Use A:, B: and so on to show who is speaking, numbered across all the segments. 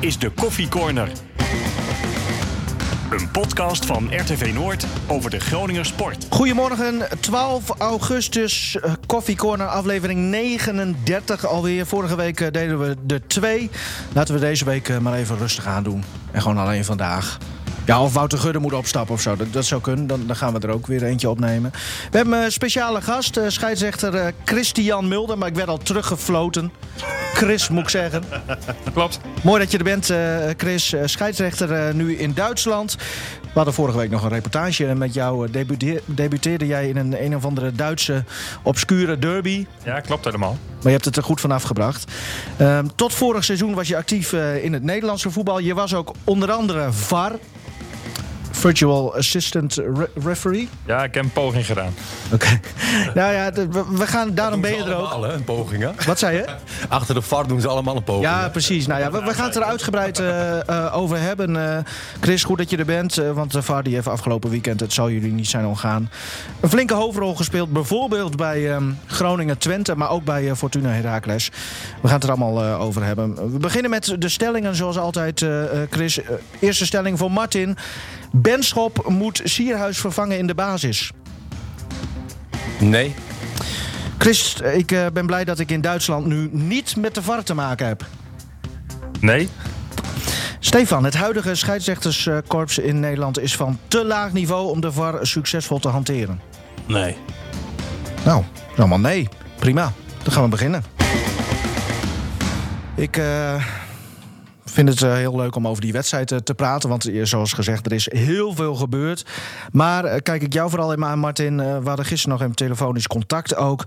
A: is de Koffie Corner. Een podcast van RTV Noord over de Groninger sport.
B: Goedemorgen, 12 augustus, eh, Koffie Corner, aflevering 39 alweer. Vorige week eh, deden we de twee. Laten we deze week eh, maar even rustig aandoen. En gewoon alleen vandaag. Ja, of Wouter Gudde moet opstappen of zo. Dat, dat zou kunnen. Dan, dan gaan we er ook weer eentje opnemen. We hebben een speciale gast, eh, scheidsrechter eh, Christian Mulder. Maar ik werd al teruggefloten. Chris, moet ik zeggen.
C: Klopt.
B: Mooi dat je er bent, eh, Chris. Eh, Scheidsrechter eh, nu in Duitsland. We hadden vorige week nog een reportage met jou. eh, debute- debuteerde jij in een, een of andere Duitse obscure derby.
C: Ja, klopt helemaal.
B: Maar je hebt het er goed van afgebracht. Ehm, tot vorig seizoen was je actief eh, in het Nederlandse voetbal. Je was ook onder andere VAR. Virtual Assistant Re- Referee.
C: Ja, ik heb een poging gedaan.
B: Oké. nou ja, d- we, we gaan, daarom ben je er ook.
D: Allemaal, hè, een poging, hè?
B: Wat zei je?
D: Achter de VAR doen ze allemaal een poging.
B: Ja, precies. Nou ja, we, we gaan het er uitgebreid eh, eh, over hebben. Eh, Chris, goed dat je er bent. eh, want de VAR die heeft afgelopen weekend, het zal jullie niet zijn ontgaan, een flinke hoofdrol gespeeld. Bijvoorbeeld bij ehm, Groningen-Twente, maar ook bij eh, Fortuna Heracles. We gaan het er allemaal eh, over hebben. We beginnen met de stellingen, zoals altijd, eh, eh, Chris. Eh, eerste stelling voor Martin. Benschop moet Sierhuis vervangen in de basis.
D: Nee,
B: Chris, eh, ik eh, ben blij dat ik in Duitsland nu niet met de VAR te maken heb.
C: Nee?
B: Stefan, het huidige scheidsrechterskorps in Nederland is van te laag niveau om de VAR succesvol te hanteren.
E: Nee.
B: Nou, allemaal nee. Prima. Dan gaan we beginnen. Ik eh, vind het eh, heel leuk om over die wedstrijd eh, te praten. Want eh, zoals gezegd, er is heel veel gebeurd. Maar eh, kijk ik jou vooral even aan, Martin. eh we hadden gisteren nog even telefonisch contact ook.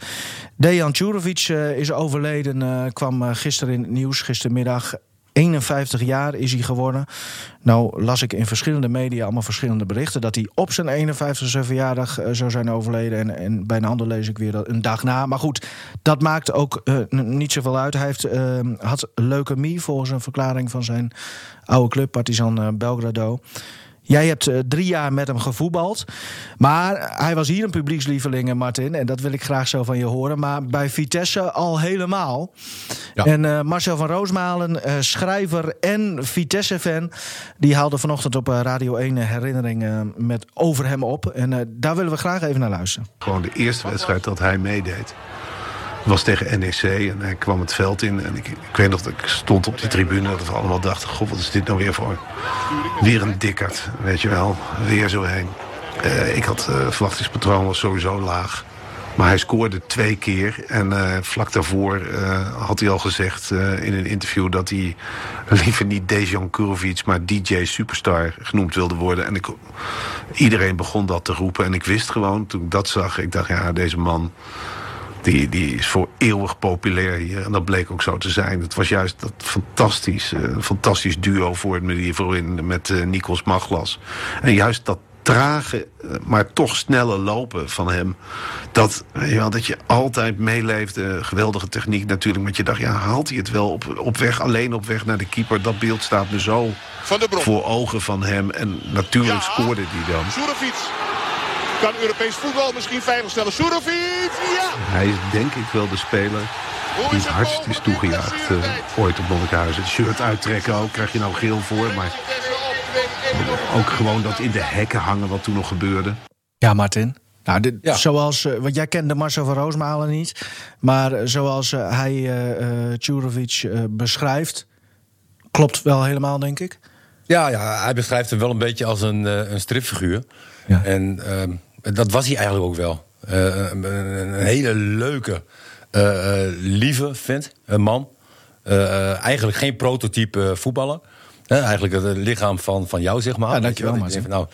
B: Dejan Tjurovic eh, is overleden. eh, kwam eh, gisteren in het nieuws, gistermiddag. 51 jaar is hij geworden. Nou las ik in verschillende media allemaal verschillende berichten... dat hij op zijn 51ste verjaardag eh, zou zijn overleden. En, en bij een ander lees ik weer dat een dag na. Maar goed, dat maakt ook eh, n- niet zoveel uit. Hij heeft, eh, had leukemie volgens een verklaring van zijn oude club... Partizan eh, Belgrado. Jij hebt eh, drie jaar met hem gevoetbald. Maar hij was hier een publiekslieveling, eh, Martin. En dat wil ik graag zo van je horen. Maar bij Vitesse al helemaal.
D: Ja.
B: En eh, Marcel van Roosmalen, eh, schrijver en Vitesse-fan... die haalde vanochtend op eh, Radio 1 een herinnering eh, met over hem op. En eh, daar willen we graag even naar luisteren.
F: Gewoon de eerste wedstrijd dat hij meedeed. Was tegen NEC en hij kwam het veld in. En ik, ik weet nog dat ik stond op die tribune. Dat we allemaal dachten, god wat is dit nou weer voor... Weer een dikkerd, weet je wel. Weer zo heen. Eh, ik had, eh verwachtingspatroon was sowieso laag. Maar hij scoorde twee keer. En eh, vlak daarvoor eh, had hij al gezegd eh, in een interview... dat hij liever niet Dejan Kurovic, maar DJ Superstar genoemd wilde worden. En ik, iedereen begon dat te roepen. En ik wist gewoon, toen ik dat zag, ik dacht, ja, deze man... Die, die is voor eeuwig populair hier. En dat bleek ook zo te zijn. Het was juist dat fantastisch, eh, fantastisch duo voor het medieval in met eh Nikos Maglas. En juist dat trage, eh, maar toch snelle lopen van hem. Dat, weet je wel, dat je altijd meeleeft. eh, geweldige techniek natuurlijk. Want je dacht, ja, haalt hij het wel op, op weg, alleen op weg naar de keeper. Dat beeld staat me zo
G: Van de Bron.
F: voor ogen van hem. En natuurlijk
G: Ja.
F: scoorde hij dan.
G: Surovic. Kan Europees voetbal misschien veiligstellen. Surovic, ja!
F: Hij is denk ik wel de speler die
G: Hoe is
F: het
G: het
F: hardst is
G: mogelijk?
F: toegejaagd eh, ooit op Monnikenhuizen. Het shirt uittrekken ook, krijg je nou geel voor. Maar ook gewoon dat in de hekken hangen wat toen nog gebeurde.
B: Ja, Martin. Nou, dit,
D: Ja.
B: Zoals, eh, want jij kende Marcel van Roosmalen niet. Maar eh, zoals eh, hij eh, eh, Djurovic eh, beschrijft... klopt wel helemaal, denk ik.
D: Ja, ja, hij beschrijft hem wel een beetje als een, eh, een stripfiguur.
B: Ja.
D: En ehm, dat was hij eigenlijk ook wel. Eh, een, een hele leuke, eh, eh, lieve vent, een man. Eh, eh, eigenlijk geen prototype eh, voetballer. Hè, eigenlijk het eh, lichaam van, van jou, zeg maar.
B: Ja,
D: Weet je
B: dankjewel,
D: wel. Ik denk van, nou,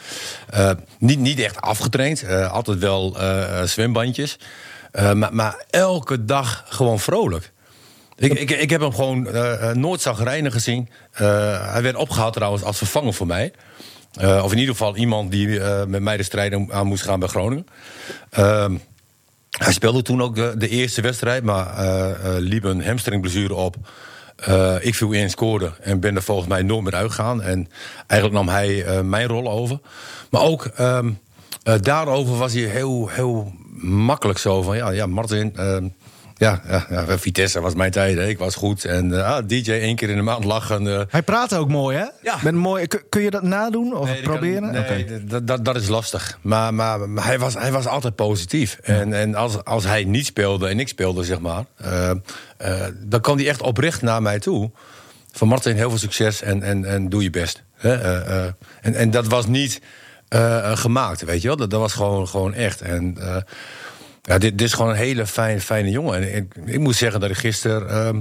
D: eh, niet, niet echt afgetraind. eh, altijd wel eh, eh, zwembandjes. Eh, maar, maar elke dag gewoon vrolijk. Ik, ik, ik heb hem gewoon eh eh, nooit zagrijnig gezien. Eh, hij werd opgehaald trouwens als vervanger voor mij. Eh, of in ieder geval iemand die eh, met mij de strijd om- aan moest gaan bij Groningen. Ehm, hij speelde toen ook eh, de, de eerste wedstrijd, maar eh, eh, liep een hamstringblessure op. Eh, ik viel in, scoorde en ben er volgens mij nooit meer uitgegaan. En eigenlijk nam hij eh, mijn rol over. Maar ook ehm, eh, daarover was hij heel, heel makkelijk zo van... ja, ja Martin, ehm, Ja, ja, ja, Vitesse was mijn tijd. Hè. Ik was goed. En eh, ah, DJ één keer in de maand lachen. eh.
B: Hij praat ook mooi, hè?
D: Ja.
B: Met een mooie, kun, kun je dat nadoen of
D: Nee, dat kan-
B: proberen?
D: nee,
B: Oké.
D: dat, dat, dat is lastig. Maar, maar, maar hij, was, hij was altijd positief. En, en als, als hij niet speelde en ik speelde, zeg maar... eh, eh, dan kwam hij echt oprecht naar mij toe. Van Martin, heel veel succes en, en, en doe je best. Hè, eh, eh, en, en dat was niet eh, eh, gemaakt, weet je wel. Dat, dat was gewoon, gewoon echt. En... eh, ja, dit, dit is gewoon een hele fijn, fijne jongen. En ik, ik moet zeggen dat ik gisteren ehm,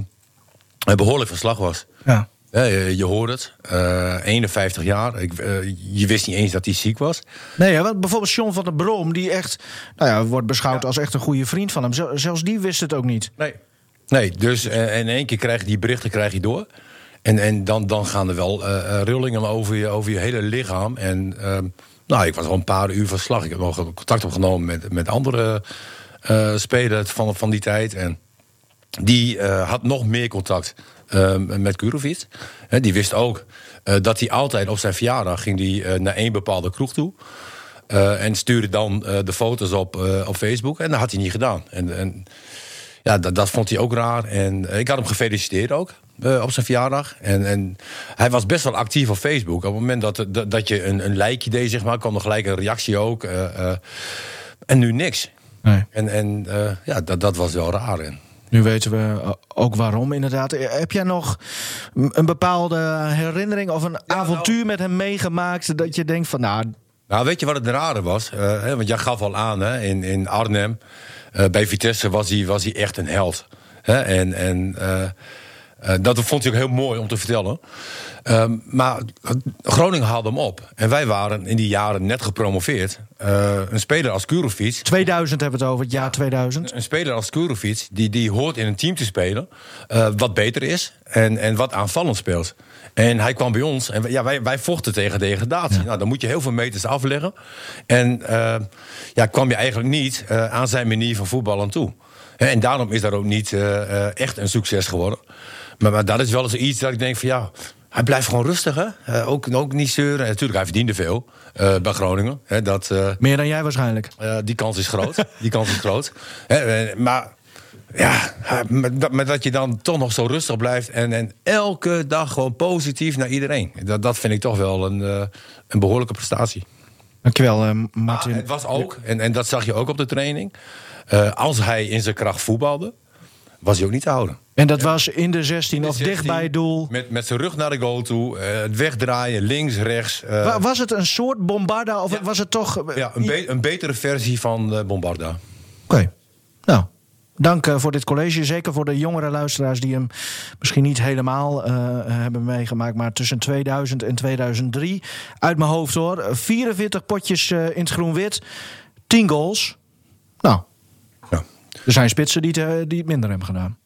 D: een behoorlijk verslag was.
B: Ja.
D: Ja, je, je hoort het. Eh, 51 jaar. Ik, eh, je wist niet eens dat hij ziek was.
B: Nee, hè, want bijvoorbeeld John van der Brom, die echt nou ja, wordt beschouwd als echt een goede vriend van hem. Zel- Zelfs die wist het ook niet.
D: Nee. Nee, dus eh, in één keer krijg je die berichten krijg je door. En, en dan, dan gaan er wel eh, eh, rillingen over je, over je hele lichaam. En ehm, nou, ik was al een paar uur van slag. Ik heb nog contact opgenomen met, met andere eh, spelers van, van die tijd. En die eh, had nog meer contact eh, met Kurovic. Hè, die wist ook eh, dat hij altijd op zijn verjaardag ging die, eh, naar één bepaalde kroeg toe. Eh, en stuurde dan eh, de foto's op, eh, op Facebook. En dat had hij niet gedaan. En, en ja, dat, dat vond hij ook raar. En eh, ik had hem gefeliciteerd ook eh, op zijn verjaardag. En, en hij was best wel actief op Facebook. Op het moment dat, dat, dat je een, een likeje deed, zeg maar, kwam er gelijk een reactie ook. eh, eh. en nu niks.
B: Nee.
D: En, en eh, ja, dat, dat was wel raar. En,
B: Nu weten we eh, ook waarom, inderdaad. Eh, Heb jij nog m- een bepaalde herinnering of een avontuur met hem meegemaakt? Dat je denkt van, nou,
D: Nou, weet je wat het rare was? Eh, hè, want jij gaf al aan, hè, in, in Arnhem, eh, bij Vitesse was hij, was hij echt een held. Hè? En, en eh, eh, dat vond ik ook heel mooi om te vertellen. Ehm, maar Groningen haalde hem op. En wij waren in die jaren net gepromoveerd. Eh, een speler als Kurovic
B: 2000 hebben we het over, het jaar 2000.
D: een speler als Kurovic, die, die hoort in een team te spelen... eh, wat beter is en, en wat aanvallend speelt. En hij kwam bij ons en wij- ja, wij, wij vochten tegen degradatie. Nou, dan moet je heel veel meters afleggen. En eh, ja, kwam je eigenlijk niet eh, aan zijn manier van voetbal aan toe. Hè, En daarom is dat ook niet eh, eh, echt een succes geworden. Maar, maar dat is wel eens iets dat ik denk van ja... Hij blijft gewoon rustig, hè? Eh, ook, ook niet zeuren. En Natuurlijk, hij verdiende veel eh, bij Groningen. Hè, dat, eh,
B: Meer dan jij waarschijnlijk.
D: eh, die kans is groot. die kans is groot. Hè, eh, maar ja, eh, maar dat, maar dat je dan toch nog zo rustig blijft. En, en elke dag gewoon positief naar iedereen. Dat, dat vind ik toch wel een, eh, een behoorlijke prestatie.
B: Dankjewel, eh, Martin.
D: Ah, het was ook, en, en dat zag je ook op de training. eh, als hij in zijn kracht voetbalde, was hij ook niet te houden.
B: En dat was in de 16 of dicht
D: 16,
B: bij het doel.
D: Met, met zijn rug naar de goal toe. eh, het wegdraaien, links, rechts. eh,
B: Wa- Was het een soort bombarda of was het toch... eh,
D: ja, een, be- een betere versie van eh, Bombarda.
B: Oké. Nou, dank eh, voor dit college. Zeker voor de jongere luisteraars die hem misschien niet helemaal eh, hebben meegemaakt. Maar tussen 2000 en 2003, uit mijn hoofd hoor. 44 potjes eh, in het groen-wit, 10 goals. Nou,
D: Ja.
B: er zijn spitsen die het, eh, die het minder hebben gedaan.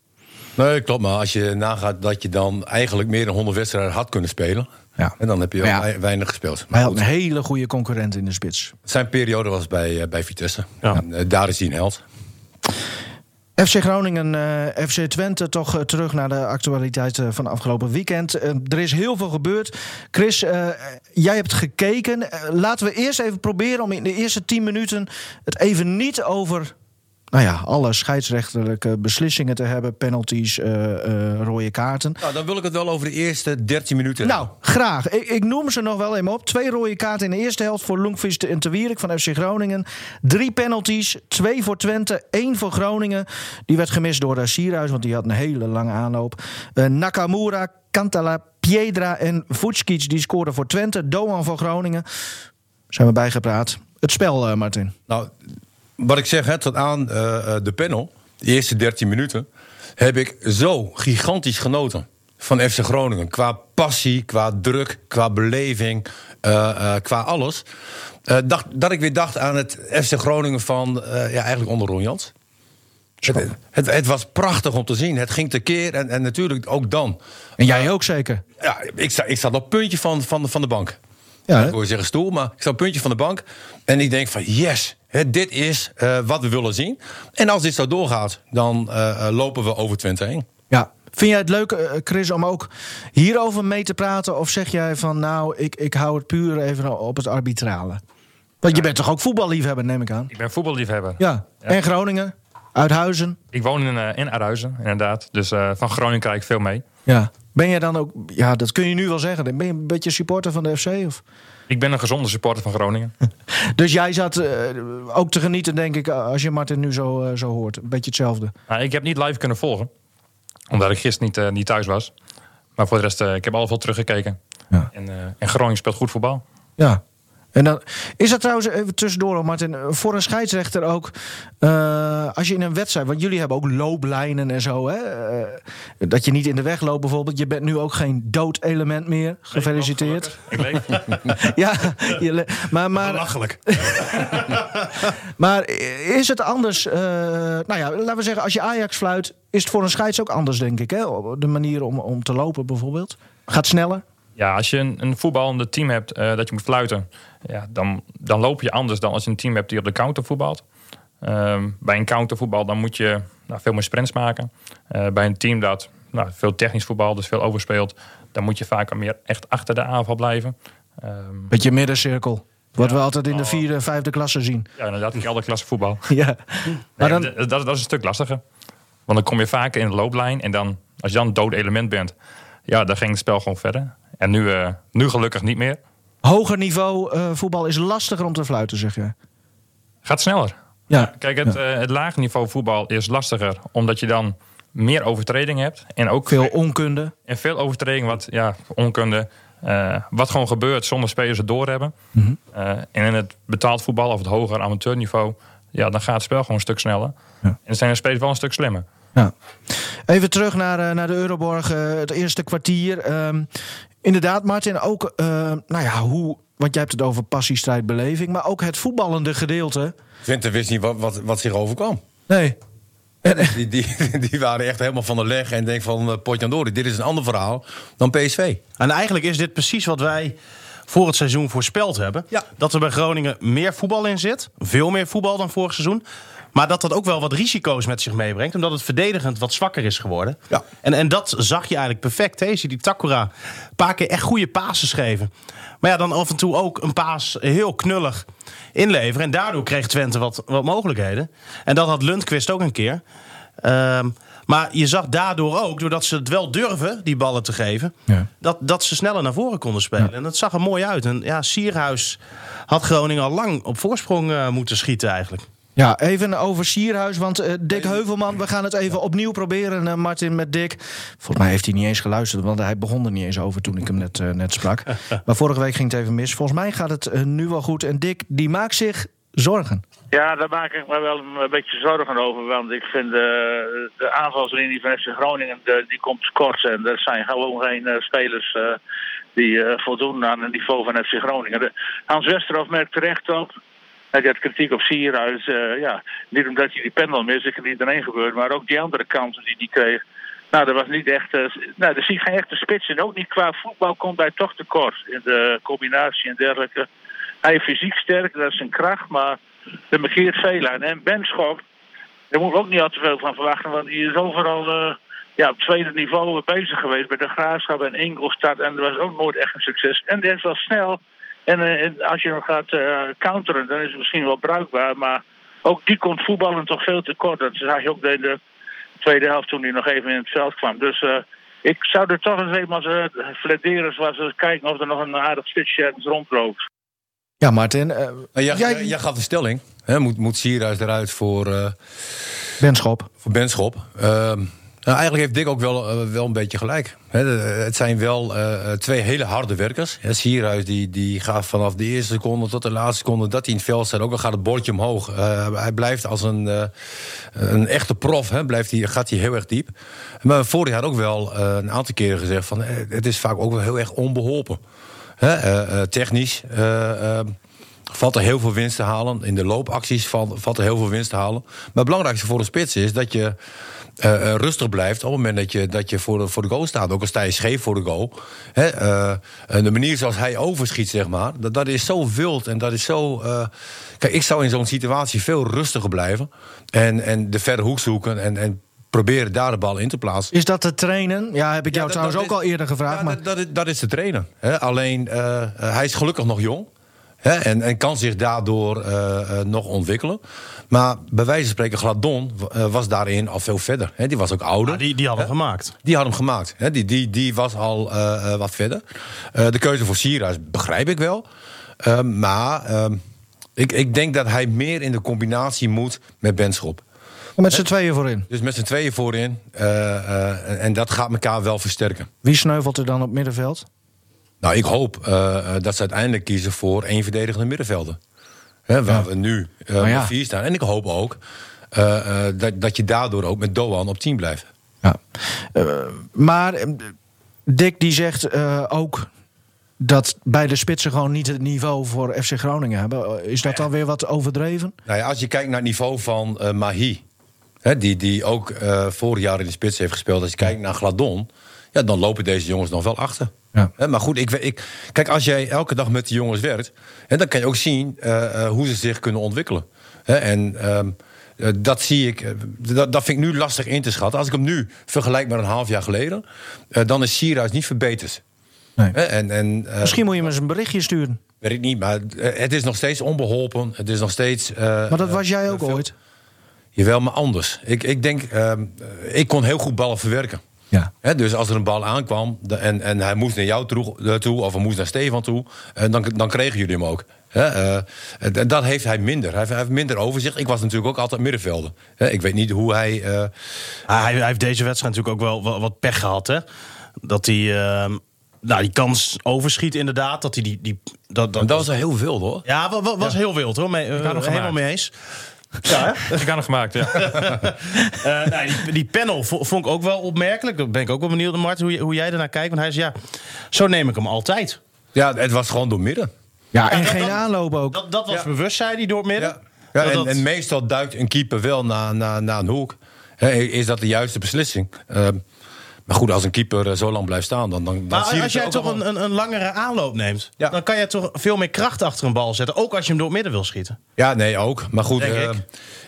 D: Nee, klopt. Maar als je nagaat dat je dan eigenlijk meer dan 100 wedstrijden had kunnen spelen.
B: Ja.
D: En dan heb je wel
B: Ja.
D: wei- weinig gespeeld.
B: Maar
D: Maar
B: hij had
D: goed,
B: een hele goede concurrent in de spits.
D: zijn periode was bij, eh, bij Vitesse.
C: Ja.
D: En, eh, daar is hij een held.
B: FC Groningen, eh, FC Twente, toch eh, terug naar de actualiteit eh, van afgelopen weekend. Eh, er is heel veel gebeurd. Chris, eh, jij hebt gekeken. Eh, laten we eerst even proberen om in de eerste 10 minuten het even niet over. Nou ja, alle scheidsrechterlijke beslissingen te hebben, penalties, eh, eh, rode kaarten.
D: Nou, dan wil ik het wel over de eerste 13 minuten.
B: Nou, graag. Ik, ik noem ze nog wel even op. Twee rode kaarten in de eerste helft voor Lundqvist en Te Wierik van FC Groningen. Drie penalties. Twee voor Twente, één voor Groningen. Die werd gemist door eh, Sierhuis, want die had een hele lange aanloop. Eh, Nakamura, Kantala, Piedra en Vucic die scoorden voor Twente. Doan voor Groningen. Zijn we bijgepraat. Het spel, eh, Martin.
D: Nou, wat ik zeg, hè, tot aan eh, eh, de panel, de eerste 13 minuten, heb ik zo gigantisch genoten van FC Groningen. Qua passie, qua druk, qua beleving, eh, eh, qua alles. Eh, dacht, dat ik weer dacht aan het FC Groningen van, eh, ja, eigenlijk onder Ron Jans. Het, het, het was prachtig om te zien. Het ging tekeer en, en natuurlijk ook dan.
B: En jij ook zeker.
D: Ja, ik, sta, ik zat op het puntje van, van, van de bank.
B: Ja,
D: Ja,
B: hè?
D: ik wil zeggen stoel, maar ik sta op het puntje van de bank. En ik denk van yes, hè, dit is eh, wat we willen zien. En als dit zo doorgaat, dan eh, eh, lopen we over Twente heen.
B: Ja. Vind jij het leuk, eh, Chris, om ook hierover mee te praten? Of zeg jij van, nou, ik, ik hou het puur even op het arbitrale? Want je bent toch ook voetballiefhebber, neem ik aan?
C: Ik ben voetballiefhebber.
B: Ja. En Groningen? Uithuizen.
C: Ik woon in, eh in Aarhuizen, inderdaad. Dus eh, van Groningen krijg ik veel mee.
B: Ja. Ben jij dan ook, ja, dat kun je nu wel zeggen. Ben je een beetje supporter van de FC? Of?
C: Ik ben een gezonde supporter van Groningen.
B: Dus jij zat eh, ook te genieten, denk ik, als je Martin nu zo, eh, zo hoort. Een beetje hetzelfde.
C: Nou, ik heb niet live kunnen volgen, omdat ik gisteren niet, eh, niet thuis was. Maar voor de rest, eh, ik heb alles wel teruggekeken.
B: Ja.
C: En, eh, en Groningen speelt goed voetbal.
B: Ja. En dan, is dat trouwens even tussendoor, hoor, Martin, eh, voor een scheidsrechter ook, eh, als je in een wedstrijd, want jullie hebben ook looplijnen en zo, hè? eh, dat je niet in de weg loopt bijvoorbeeld. Je bent nu ook geen dood element meer. Gefeliciteerd.
C: Ik leef.
B: Ja, je le- maar, maar,
F: Belachelijk.
B: maar is het anders? eh, nou ja, laten we zeggen, als je Ajax fluit, is het voor een scheids ook anders, denk ik. Hè? De manier om, om te lopen bijvoorbeeld. Gaat sneller.
C: Ja, als je een, een voetballende team hebt eh, dat je moet fluiten, ja, dan, dan loop je anders dan als je een team hebt die op de counter voetbalt. Ehm, bij een countervoetbal dan moet je nou, veel meer sprints maken. Eh, bij een team dat nou, veel technisch voetbal, dus veel overspeelt, dan moet je vaak meer echt achter de aanval blijven. Ehm,
B: Beetje middencirkel. Wat we altijd in de vierde, vijfde klasse zien.
C: ja, inderdaad, ik alle klasse voetbal.
B: Ja. Maar dan,
C: Nee, d- dat, dat is een stuk lastiger. Want dan kom je vaker in de looplijn en dan, als je dan een dood element bent, ja, dan ging het spel gewoon verder. En nu, eh, nu gelukkig niet meer.
B: hoger niveau eh, voetbal is lastiger om te fluiten, zeg je.
C: Gaat sneller.
B: Ja.
C: Kijk, het, eh, het laag niveau voetbal is lastiger, omdat je dan meer overtreding hebt. En ook
B: Veel onkunde.
C: en veel overtreding wat ja, onkunde. eh, wat gewoon gebeurt zonder spelers het doorhebben.
B: Mhm.
C: Eh, en in het betaald voetbal of het hoger amateurniveau, ja, dan gaat het spel gewoon een stuk sneller. En dan zijn de spelers wel een stuk slimmer.
B: Ja. Even terug naar, eh, naar de Euroborg, eh, het eerste kwartier. Ehm, inderdaad, Martin, ook eh, nou ja, hoe, want jij hebt het over passie, strijd, beleving, maar ook het voetballende gedeelte.
D: Twente wist niet wat, wat, wat zich overkwam.
B: Nee.
D: Die, die, die waren echt helemaal van de leg en denk van eh, potjandori, dit is een ander verhaal dan PSV.
E: En eigenlijk is dit precies wat wij voor het seizoen voorspeld hebben.
D: Ja.
E: Dat er bij Groningen meer voetbal in zit. Veel meer voetbal dan vorig seizoen. Maar dat dat ook wel wat risico's met zich meebrengt. Omdat het verdedigend wat zwakker is geworden.
D: Ja.
E: En, en dat zag je eigenlijk perfect. Hè? Je ziet die Takura een paar keer echt goede pases geven. Maar ja, dan af en toe ook een paas heel knullig inleveren. En daardoor kreeg Twente wat, wat mogelijkheden. En dat had Lundqvist ook een keer. Ehm, maar je zag daardoor ook, doordat ze het wel durven, die ballen te geven,
B: Ja.
E: dat, dat ze sneller naar voren konden spelen. En dat zag er mooi uit. En ja, Sierhuis had Groningen al lang op voorsprong eh, moeten schieten eigenlijk.
B: Ja, even over Sierhuis, want eh, Dick Heuvelman, we gaan het even opnieuw proberen, eh, Martin, met Dick. Volgens mij heeft hij niet eens geluisterd, want hij begon er niet eens over toen ik hem net, eh, net sprak. Maar vorige week ging het even mis. Volgens mij gaat het eh, nu wel goed. En Dick, die maakt zich zorgen.
H: Ja, daar maak ik me wel een beetje zorgen over. Want ik vind eh, de aanvalslinie van FC Groningen de- die komt tekort. En er zijn gewoon geen eh, spelers eh, die eh, voldoen aan het niveau van FC Groningen. De- Hans Westerhof merkt terecht op. Hij Nou, had kritiek op Sierhuis. eh, ja, niet omdat hij die pendel mist, ik niet iedereen gebeurd. Maar ook die andere kansen die hij kreeg. Nou, dat was niet echt. eh, nou, er zie ik geen echte spits. En ook niet qua voetbal komt hij toch tekort. In de combinatie en dergelijke. Hij is fysiek sterk, dat is zijn kracht. Maar dat markeert veel aan. En Benschop, daar moet ik ook niet al te veel van verwachten. Want die is overal eh, ja, op tweede niveau bezig geweest. Bij de Graafschap en Ingolstadt. En dat was ook nooit echt een succes. En dat is wel snel. En, eh, en als je hem gaat eh, counteren, dan is het misschien wel bruikbaar. Maar ook die komt voetballen toch veel te kort. Dat zag je ook in de tweede helft toen hij nog even in het veld kwam. Dus eh, ik zou er toch eens even als uh, flederers was, eens kijken of er nog een aardig spitsje ergens rondloopt.
B: Ja, Martin, eh
D: Maar jij,
B: Jij-
D: jij, jij gaf de stelling, hè, moet, moet Sierhuis eruit voor, eh,
B: Benschop.
D: voor Benschop. Ehm, nou, eigenlijk heeft Dick ook wel, eh, wel een beetje gelijk. Hè, de- het zijn wel eh, twee hele harde werkers. Hè, Sierhuis die, die gaf vanaf de eerste seconde tot de laatste seconde dat hij in het veld staat. Ook al gaat het bordje omhoog. Eh, hij blijft als een, eh, een echte prof, hè, blijft hij, gaat hij heel erg diep. Maar vorig jaar ook wel eh, een aantal keren gezegd van eh, het is vaak ook wel heel erg onbeholpen. Hè, eh, eh, technisch. eh, eh, valt er heel veel winst te halen. In de loopacties valt, valt er heel veel winst te halen. Maar het belangrijkste voor een spits is dat je eh, eh, rustig blijft... op het moment dat je, dat je voor, de, voor de goal staat. Ook al sta je scheef voor de goal. Hè, eh, en de manier zoals hij overschiet, zeg maar... dat, dat is zo wild en dat is zo... eh, kijk, ik zou in zo'n situatie veel rustiger blijven. En, en de verre hoek zoeken en... en Proberen daar de bal in te plaatsen.
B: Is dat te trainen? Ja, heb ik jou
D: Ja, dat-
B: trouwens
D: dat
B: ook al
D: is-
B: eerder gevraagd.
D: Ja,
B: maar
D: dat, dat, is- dat is te trainen. Hè? Alleen, eh, eh, hij is gelukkig nog jong. Hè, en, en kan zich daardoor eh, eh, nog ontwikkelen. Maar bij wijze van spreken, Gladon eh, was daarin al veel verder. Hè, die was ook ouder.
E: die, die hadden gemaakt.
D: Die had hem gemaakt. Hè? Die, die, die was al eh, eh, wat verder. Eh, de keuze voor Sierra is- begrijp ik wel. Eh, maar eh, ik, ik denk dat hij meer in de combinatie moet met Benschop.
B: Met z'n tweeën voorin.
D: Dus met z'n tweeën voorin. eh, eh, en, en dat gaat elkaar wel versterken.
B: Wie sneuvelt er dan op middenveld?
D: Nou, ik hoop eh, eh, dat ze uiteindelijk kiezen voor één verdedigende middenvelder. Hè, waar we nu eh
B: Maar ja.
D: op vier staan. En ik hoop ook eh, eh, dat, dat je daardoor ook met Doan op 10 blijft.
B: Ja. Eh, maar eh, Dick die zegt eh, ook dat beide spitsen gewoon niet het niveau voor FC Groningen hebben. Eh, Is dat dan weer wat overdreven?
D: Nou ja, als je kijkt naar het niveau van eh, Mahi, hè, die, die ook eh, vorig jaar in de spits heeft gespeeld. Als je kijkt naar Gladon, ja, dan lopen deze jongens nog wel achter.
B: Ja.
D: Hè, maar goed, ik, we- ik, kijk, als jij elke dag met die jongens werkt, hè, dan kan je ook zien eh, eh, hoe ze zich kunnen ontwikkelen. Hè, en ehm, eh, dat zie ik, eh, dat, dat vind ik nu lastig in te schatten. Als ik hem nu vergelijk met een half jaar geleden, eh, dan is Sierhuis niet verbeterd.
B: Nee.
D: Hè, en, en, eh,
B: Misschien moet je hem eens een berichtje sturen.
D: Weet ik niet, maar eh, het is nog steeds onbeholpen. Het is nog steeds. eh,
B: Maar dat was jij ook
D: veel-
B: ooit.
D: Jawel, maar anders. Ik, ik denk, ehm, ik kon heel goed ballen verwerken.
B: Ja.
D: Hè, dus als er een bal aankwam de- en, en hij moest naar jou toe, eh, toe of hij moest naar Stefan toe, eh, dan, dan kregen jullie hem ook. Hè, eh, en dat heeft hij minder. Hij heeft, hij heeft minder overzicht. Ik was natuurlijk ook altijd middenvelder. Hè, ik weet niet hoe hij. eh,
E: Ah, hij, hij heeft deze wedstrijd natuurlijk ook wel, wel wat pech gehad, hè? Dat hij ehm, nou, die kans overschiet, inderdaad. Dat hij die. die dat, dat,
D: want dat was er heel veel hoor.
E: ja, wa- wa- was heel wild hoor. Mee, eh,
C: nog
E: helemaal
C: gemaakt.
E: mee eens.
C: Ik had hem gemaakt, ja.
E: Eh, nee, die, die panel vo- vond ik ook wel opmerkelijk. Daar ben ik ook wel benieuwd naar, Mart, hoe, je- hoe jij ernaar kijkt. Want hij zei, ja, zo neem ik hem altijd.
D: Ja, het was gewoon door midden.
B: Ja, en
E: dat-
B: geen
E: dat-
B: aanloop ook.
E: Dat, dat was
D: Ja.
E: bewustzijn die door het midden.
D: Ja. Ja,
E: Dat-
D: en,
E: dat-
D: en meestal duikt een keeper wel naar, naar, naar een hoek. Hè, is dat de juiste beslissing? Ehm, maar goed, als een keeper eh, zo lang blijft staan, dan, dan, dan
E: maar
D: zie je
E: als
D: het
E: jij
D: ook
E: toch
D: allemaal.
E: een, een, een langere aanloop neemt,
D: Ja.
E: dan kan je toch veel meer kracht achter een bal zetten. Ook als je hem door het midden wil schieten.
D: Ja, nee, ook. Maar goed,
E: Denk
D: eh,
E: ik.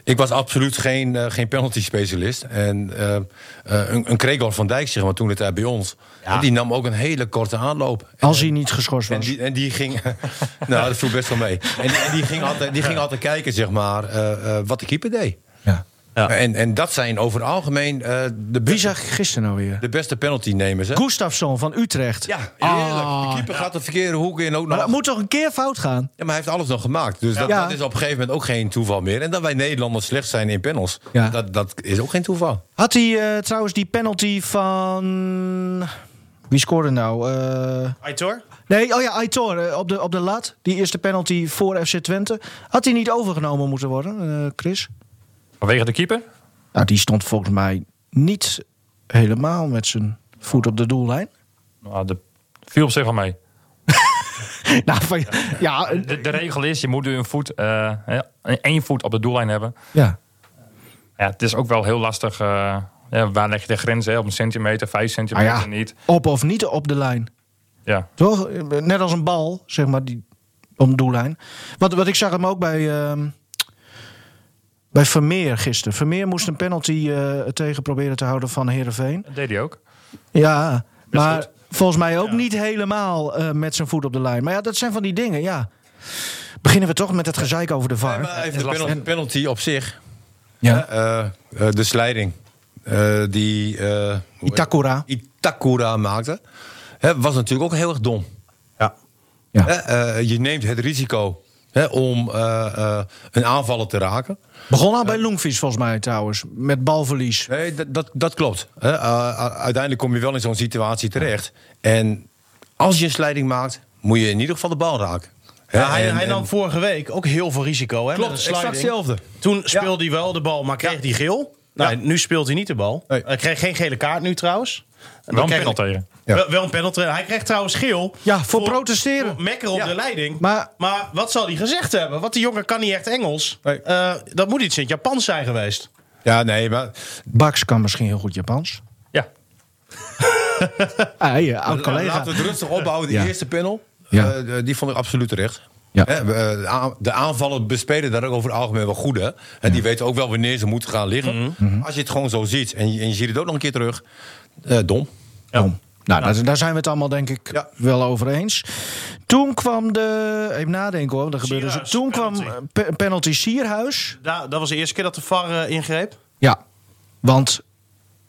D: ik. was absoluut geen, eh, geen penalty-specialist. En eh, eh, een, een Gregor van Dijk, zeg maar, toen het daar bij ons...
E: Ja.
D: die nam ook een hele korte aanloop.
B: Als hij niet geschorst
D: En
B: was.
D: die, en die ging... nou, dat viel best wel mee. En, die- en die, ging altijd, die ging altijd kijken, zeg maar, eh, eh, wat de keeper deed.
B: Ja.
E: Ja.
D: En, en dat zijn over het algemeen eh, de,
B: Wie
D: beste,
B: zag ik gisteren nou weer?
D: de beste penalty-nemers. hè?
B: Gustafsson van Utrecht.
D: Ja, eerlijk.
B: Ah.
D: de keeper gaat de verkeerde hoek in. Ook
B: Maar
D: nog.
B: dat moet toch een keer fout gaan?
D: Ja, maar hij heeft alles nog gemaakt. Dus dat,
B: Ja.
D: dat is op een gegeven moment ook geen toeval meer. En dat wij Nederlanders slecht zijn in panels,
B: Ja.
D: dat, dat is ook geen toeval.
B: Had hij eh, trouwens die penalty van... Wie scoorde nou? Eh,
E: Aitor?
B: Nee, oh ja, Aitor eh, op de, op de lat. Die eerste penalty voor FC Twente. Had hij niet overgenomen moeten worden, eh, Chris?
C: Vanwege de keeper?
B: Nou, die stond volgens mij niet helemaal met zijn voet op de doellijn.
C: Nou, de viel op zich wel mee.
B: nou, van, ja, eh,
C: De, de regel is, je moet een voet, eh, hè, één voet op de doellijn hebben.
B: ja.
C: Ja, het is ook wel heel lastig. eh, ja, waar leg je de grens? Hè? Op een centimeter, vijf
B: Nou
C: centimeter
B: ja,
C: niet.
B: op of niet op de lijn.
C: Ja.
B: Toch? Eh, Net als een bal, zeg maar, die om doellijn. Wat, wat ik zag hem ook bij, ehm, bij Vermeer gisteren. Vermeer moest een penalty eh, tegen proberen te houden van Herenveen.
C: Dat deed hij ook.
B: Ja, maar volgens mij ook niet helemaal eh, met zijn voet op de lijn. Maar ja, dat zijn van die dingen, ja. Beginnen we toch met het gezeik over de VAR.
D: Maar even de penal-
B: En-
D: penalty op zich.
B: Ja.
D: Eh, eh, de slijding eh, die eh, hoe
B: Itakura.
D: heet- Itakura maakte, hè, was natuurlijk ook heel erg dom.
E: Ja.
B: Ja.
D: Hè, eh, je neemt het risico hè, om eh, eh, een aanvaller te raken.
B: Begon al bij Longvis volgens mij trouwens, met balverlies.
D: Nee, dat, dat, dat klopt. Hè, eh, u- uiteindelijk kom je wel in zo'n situatie terecht. En als je een slijding maakt, moet je in ieder geval de bal raken. Hè,
E: Ja, hij,
D: en-
E: hij
D: en-
E: nam vorige week ook heel veel risico. Hè,
D: Klopt,
E: met een sliding.
D: exact hetzelfde.
E: Toen speelde hij wel de bal, maar kreeg hij geel. Nou, Nu speelt hij niet de bal.
D: Nee.
E: Hij kreeg geen gele kaart nu trouwens. En
C: Wel
E: dan
C: een
E: kreeg-
C: penalty tegen.
D: Ja.
E: Wel, wel een penalty. Hij kreeg trouwens geel.
B: Ja, voor protesteren.
E: voor mekker op de leiding.
B: Maar-
E: wat zal hij gezegd hebben? Want die jongen kan niet echt Engels.
D: Nee.
E: Eh, dat moet iets in het Japans zijn geweest.
D: Ja, nee, maar
B: Baks kan misschien heel goed Japans.
C: Ja.
B: Ah, ja, oud collega.
D: Eh, Laten we het rustig opbouwen. De
B: Ja.
D: eerste panel,
B: Ja.
D: eh, die vond ik absoluut terecht.
B: Ja.
D: Hè, we, eh, de aan- De aanvallen bespelen daar ook over het algemeen wel goed. Hè? En die weten ook wel wanneer ze moeten
B: Mhm.
D: gaan liggen. Als je het gewoon zo ziet en je, en je ziet het ook nog een keer terug, eh, dom.
B: Dom. Nou, daar, daar zijn we het allemaal denk ik
D: Ja.
B: wel over eens. Toen kwam de... Even nadenken hoor, want er gebeurde
E: Sierhuis,
B: zo- Toen kwam
E: penalty.
B: eh, pe- penalty Sierhuis.
E: Da- dat was de eerste keer dat de VAR eh, ingreep.
B: Ja, want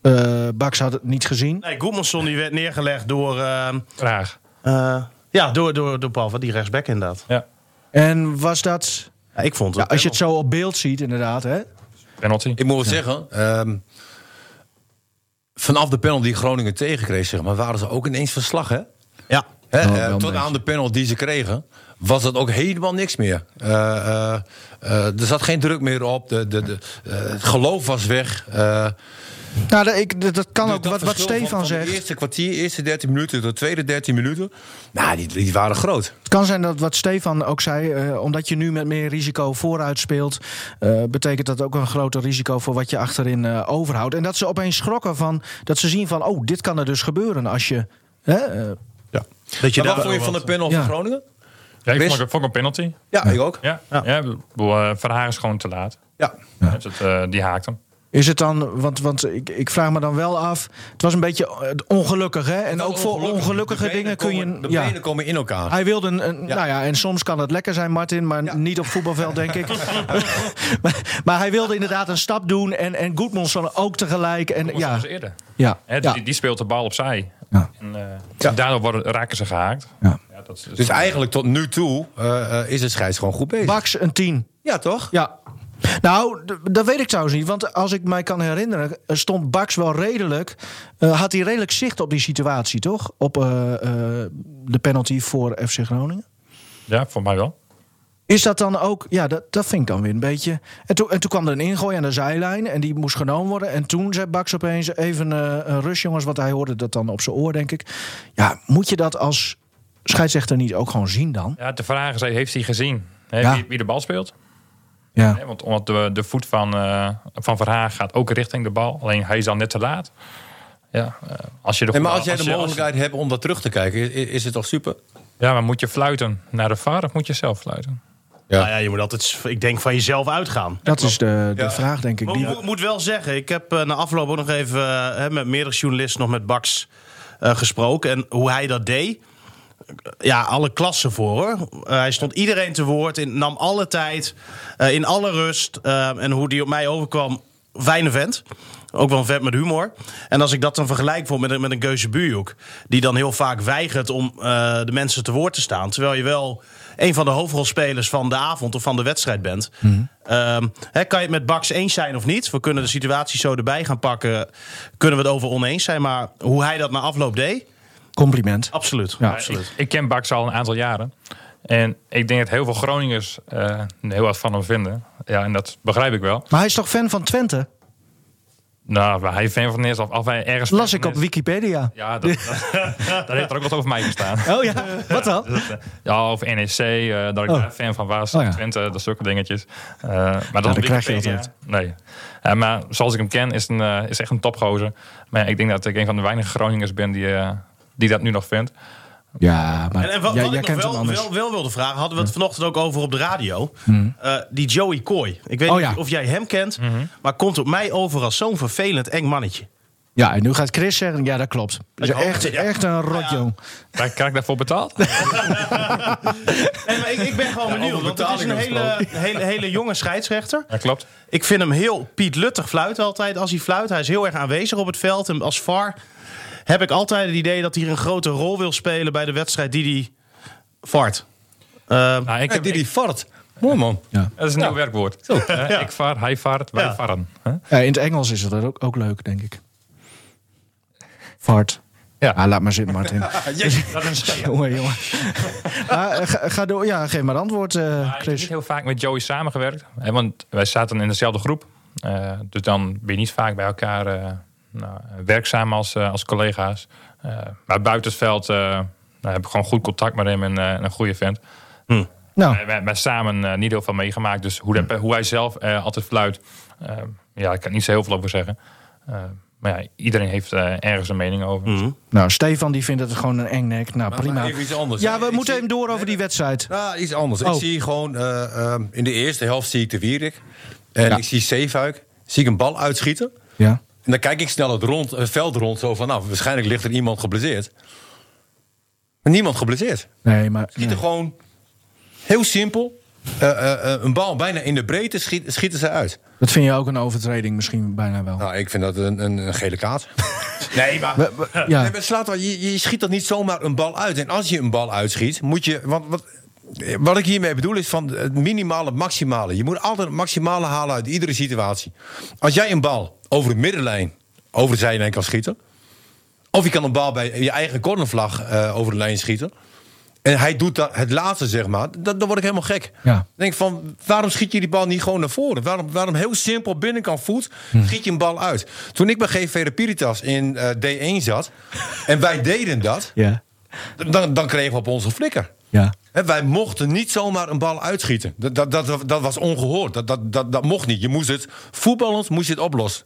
B: eh Bax had het niet gezien.
E: Nee, Goedmanson die werd neergelegd door, eh,
C: Graag.
E: eh, ja, door, door, door Palva, die rechtsback inderdaad.
C: Ja,
B: En was dat...
E: Ja, ik vond
B: Ja,
E: het.
B: als je het zo op beeld ziet inderdaad, hè?
C: penalty.
D: Ik moet wel zeggen, ehm, vanaf de panel die Groningen tegenkreeg, zeg maar, waren ze ook ineens verslag. Hè?
E: Ja.
D: Hè,
B: Oh,
D: eh,
B: wel
D: tot
B: een
D: aan de panel die ze kregen, was dat ook helemaal niks meer. Eh, eh, eh, er zat geen druk meer op. De, de, de, eh, het geloof was weg. Eh,
B: Nou, dat, ik, dat, dat kan
D: dus
B: ook.
D: dat
B: Wat, wat
D: verschil van- van
B: Stefan
D: de
B: zegt.
D: eerste kwartier, eerste 13 minuten, de tweede 13 minuten. Nou, die, die waren groot.
B: Het kan zijn dat wat Stefan ook zei, eh, omdat je nu met meer risico vooruit speelt, eh, betekent dat ook een groter risico voor wat je achterin eh, overhoudt. En dat ze opeens schrokken van dat ze zien van, oh, dit kan er dus gebeuren als je. Hè, eh,
E: Dat je
D: Maar
E: daar
D: wat vond je van de panel
B: Ja.
D: van Groningen?
C: Ja, ik
D: Wist-
C: vond, het- vond ik een penalty.
D: Ja, ik ook.
C: Ja, ja. ik bedoel, eh, Verhaar is gewoon te laat.
D: Ja.
C: Dus het, eh, die haakt hem.
B: is het dan, want, want ik, ik vraag me dan wel af, het was een beetje eh, ongelukkig hè? En ook voor
D: Ongelukkig.
B: ongelukkige
D: De benen
B: dingen kun je.
D: komen- De
B: ja.
D: benen komen in elkaar.
B: Hij wilde een, een- nou ja, en soms kan het lekker zijn, Martin, maar niet op voetbalveld, denk ik. maar, maar hij wilde inderdaad een stap doen en, en Goedmanson ook tegelijk. En,
C: Ja.
B: ja,
C: eerder.
B: ja,
C: Hè,
B: ja.
C: die, die speelt de bal opzij.
B: Ja.
C: En, eh, Daardoor worden, raken ze gehaakt.
B: Ja.
C: dat is,
D: Dus eigenlijk tot nu toe eh, eh, is de scheids gewoon goed bezig.
B: Bax een 10.
D: ja, toch?
B: Ja. Nou, d- dat weet ik trouwens niet. Want als ik mij kan herinneren, eh, stond Bax wel redelijk. eh, had hij redelijk zicht op die situatie, toch? Op eh, eh, de penalty voor FC Groningen.
C: Ja, voor mij wel.
B: Is dat dan ook, ja, dat, dat vind ik dan weer een beetje. En, toen en toen kwam er een ingooi aan de zijlijn en die moest genomen worden. En toen zei Bax opeens even eh een rust, jongens, want hij hoorde dat dan op zijn oor, denk ik. Ja, moet je dat als scheidsrechter niet ook gewoon zien dan?
C: Ja, de vraag is, heeft hij gezien hè,
B: Ja.
C: wie, wie de bal speelt?
B: Ja.
C: Hè, want omdat de, de voet van, eh, van Verhaar gaat ook richting de bal. Alleen hij is dan net te laat. Ja, eh, als je de
D: Nee, maar
C: goede-
D: als jij de
C: je- als-
D: mogelijkheid hebt om dat terug te kijken, i- i- is, het toch super? Nou,
C: ja, maar moet je fluiten naar de VAR of moet je zelf fluiten?
E: Nou ja, je moet altijd, ik denk, van jezelf uitgaan.
B: Dat is de, de
D: Ja.
B: vraag, denk ik.
E: Maar
B: Die
E: ik
B: we-
E: moet- moet wel zeggen, ik heb eh, na afloop ook nog even eh, hè, met meerdere journalisten, nog met Bax eh, gesproken. En hoe hij dat deed, ja, alle klassen voor hoor. Eh, hij stond iedereen te woord, in, nam alle tijd, eh, in alle rust. Eh, en hoe die op mij overkwam, fijne vent. Ook wel een vent met humor. En als ik dat dan vergelijk voor met, een- met een Geuze Buurjoek... die dan heel vaak weigert om eh, de mensen te woord te staan... terwijl je wel een van de hoofdrolspelers van de avond of van de wedstrijd bent... Ehm, hè, kan je het met Bax eens zijn of niet? We kunnen de situatie zo erbij gaan pakken. Kunnen we het over oneens zijn? Maar hoe hij dat na afloop deed,
B: Compliment.
E: absoluut.
B: Ja.
E: absoluut.
C: Ik, ik ken Bax al een aantal jaren. En ik denk dat heel veel Groningers eh, heel wat van hem vinden. Ja, en dat begrijp ik wel.
B: Maar hij is toch fan van Twente?
C: Nou, waar hij fan van is of, of hij ergens...
B: Las
C: fan
B: ik
C: van
B: op
C: is.
B: Wikipedia.
C: Ja, dat, dat, daar heeft er ook wat over mij gestaan.
B: Oh ja, wat dan?
C: Dus Ja, of NEC, eh, dat ik
B: Oh.
C: daar fan van was.
B: Oh ja.
C: Twente, dat soort dingetjes. Eh, maar dat
B: dan krijg je dat
C: Wikipedia,
B: uit.
C: Nee. Eh, maar zoals ik hem ken, is, een, eh, is echt een topgozer. Maar ja, ik denk dat ik een van de weinige Groningers ben die, eh, die dat nu nog vindt.
B: Ja, maar
E: En,
B: jij,
E: en wat, wat
B: jij
E: ik nog
B: kent hem
E: wel,
B: anders. Hmm.
E: wel, wel wilde vragen, hadden we het vanochtend ook over op de radio. Eh, die Joey Coy. Ik weet
B: Oh
E: niet
B: ja.
E: of jij hem kent, maar komt op mij over als zo'n vervelend eng mannetje.
B: Ja, en nu gaat Chris zeggen, ja, dat klopt. Dat is
E: hoop
B: echt,
E: het, ja.
B: echt een rotjong.
C: Krijg krijg ik daarvoor betaald?
E: En, maar ik, ik ben gewoon benieuwd, want het is een hele, hele, hele jonge scheidsrechter.
C: Ja, klopt.
E: Ik vind hem heel Piet Luttig fluit altijd. Als hij fluit, hij is heel erg aanwezig op het veld. En als VAR heb ik altijd het idee dat hij een grote rol wil spelen bij de wedstrijd die hij vaart. Eh,
C: Nou, ik
D: Ja,
C: heb,
D: die die vart. Mooi man.
C: ik- dat is een nieuw werkwoord. Eh, Ik vaar, hij vaart, wij
E: Ja.
C: varen. Huh?
B: Ja, Eh, in het Engels is dat ook, ook leuk, denk ik. Fart. Ja.
C: Ja.
B: laat maar zitten, Martin.
C: Dat is
B: jongen, jongen. Maar, eh, ga, ga door. Ja, geef maar antwoord, eh,
C: Ik heb niet
B: Chris.
C: heel vaak met Joey samengewerkt. Hè, want wij zaten in dezelfde groep. Eh, dus dan ben je niet vaak bij elkaar eh, nou, werkzaam als, eh, als collega's. Eh, maar buiten het veld eh, nou, heb ik gewoon goed contact met hem en eh, een goede vent.
B: Nou,
C: Wij, wij, hebben samen eh, niet heel veel meegemaakt. Dus hoe, dat- hoe hij zelf eh, altijd fluit, eh, ja, ik kan niet zo heel veel over zeggen. Eh, maar ja, iedereen heeft eh, ergens een mening over.
B: nou, Stefan die vindt het gewoon een eng nek. Nou,
D: Maar
B: prima.
D: Even iets anders.
B: Ja, we
D: Ik
B: moeten
D: zie-
B: even door over die wedstrijd.
D: Ja, iets anders.
B: Oh.
D: Ik zie gewoon, eh, ehm, in de eerste helft zie ik de Wierik. En ik zie Zeefuik. Zie ik een bal uitschieten.
B: Ja.
D: En En dan kijk ik snel het, rond, het veld rond, zo van, nou, waarschijnlijk ligt er iemand geblesseerd. Maar niemand geblesseerd.
B: Nee, maar.
D: Schieten gewoon heel simpel. eh, eh, eh, een bal bijna in de breedte schiet, schieten ze uit.
B: Dat vind je ook een overtreding misschien bijna wel.
D: Nou, ik vind dat een, een, een gele kaart. nee, maar...
B: We- we- ja.
D: Nee, maar slaat wel, je, je schiet dat niet zomaar een bal uit. En als je een bal uitschiet, moet je. Want, wat, wat ik hiermee bedoel is van het minimale, het maximale. Je moet altijd het maximale halen uit iedere situatie. Als jij een bal over de middenlijn, over de zijlijn kan schieten. Of je kan een bal bij je eigen cornervlag eh, over de lijn schieten. En hij doet dat, het laatste, zeg maar. Dat, dan word ik helemaal gek.
B: Ja.
D: Dan denk ik van, waarom schiet je die bal niet gewoon naar voren? Waarom, waarom heel simpel binnenkant voet schiet je een bal uit? Toen ik bij GV Piritas in eh, D1 zat... en wij deden dat,
B: Ja.
D: dan, dan kregen we op onze flikker.
B: Ja.
D: Hè, wij mochten niet zomaar een bal uitschieten. Dat, dat, dat, dat was ongehoord. Dat, dat, dat, dat mocht niet. Je moest het, voetballend moest je het oplossen.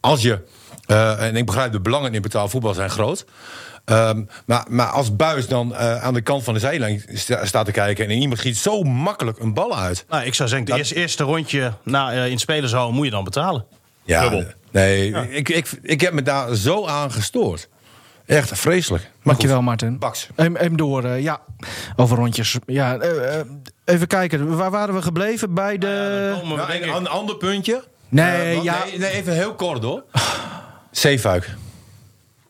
D: Als je, eh, en ik begrijp de belangen in betaald voetbal zijn groot. Ehm, maar, maar als buis dan eh, aan de kant van de zijlijn sta- staat te kijken... en iemand schiet zo makkelijk een bal uit.
E: Nou, ik zou zeggen, het
D: Dat-
E: eerste, eerste rondje na, eh, in het spelershal moet je dan betalen.
D: Ja, nee, Ik, ik, ik heb me daar zo aan gestoord. Echt vreselijk. Maar
B: Dankjewel,
D: goed.
B: Martin.
D: Baks.
B: Eem, eem door, eh, ja. Over rondjes. Ja, eh, eh, even kijken. Waar waren we gebleven? Bij de...
E: Dan komen we,
D: Ah, Ja,
E: denk
D: en
E: ik-
D: Nou, een ander puntje.
B: Nee,
D: Eh, wat-
B: ja.
D: nee, nee, even heel kort hoor. Zeefuik.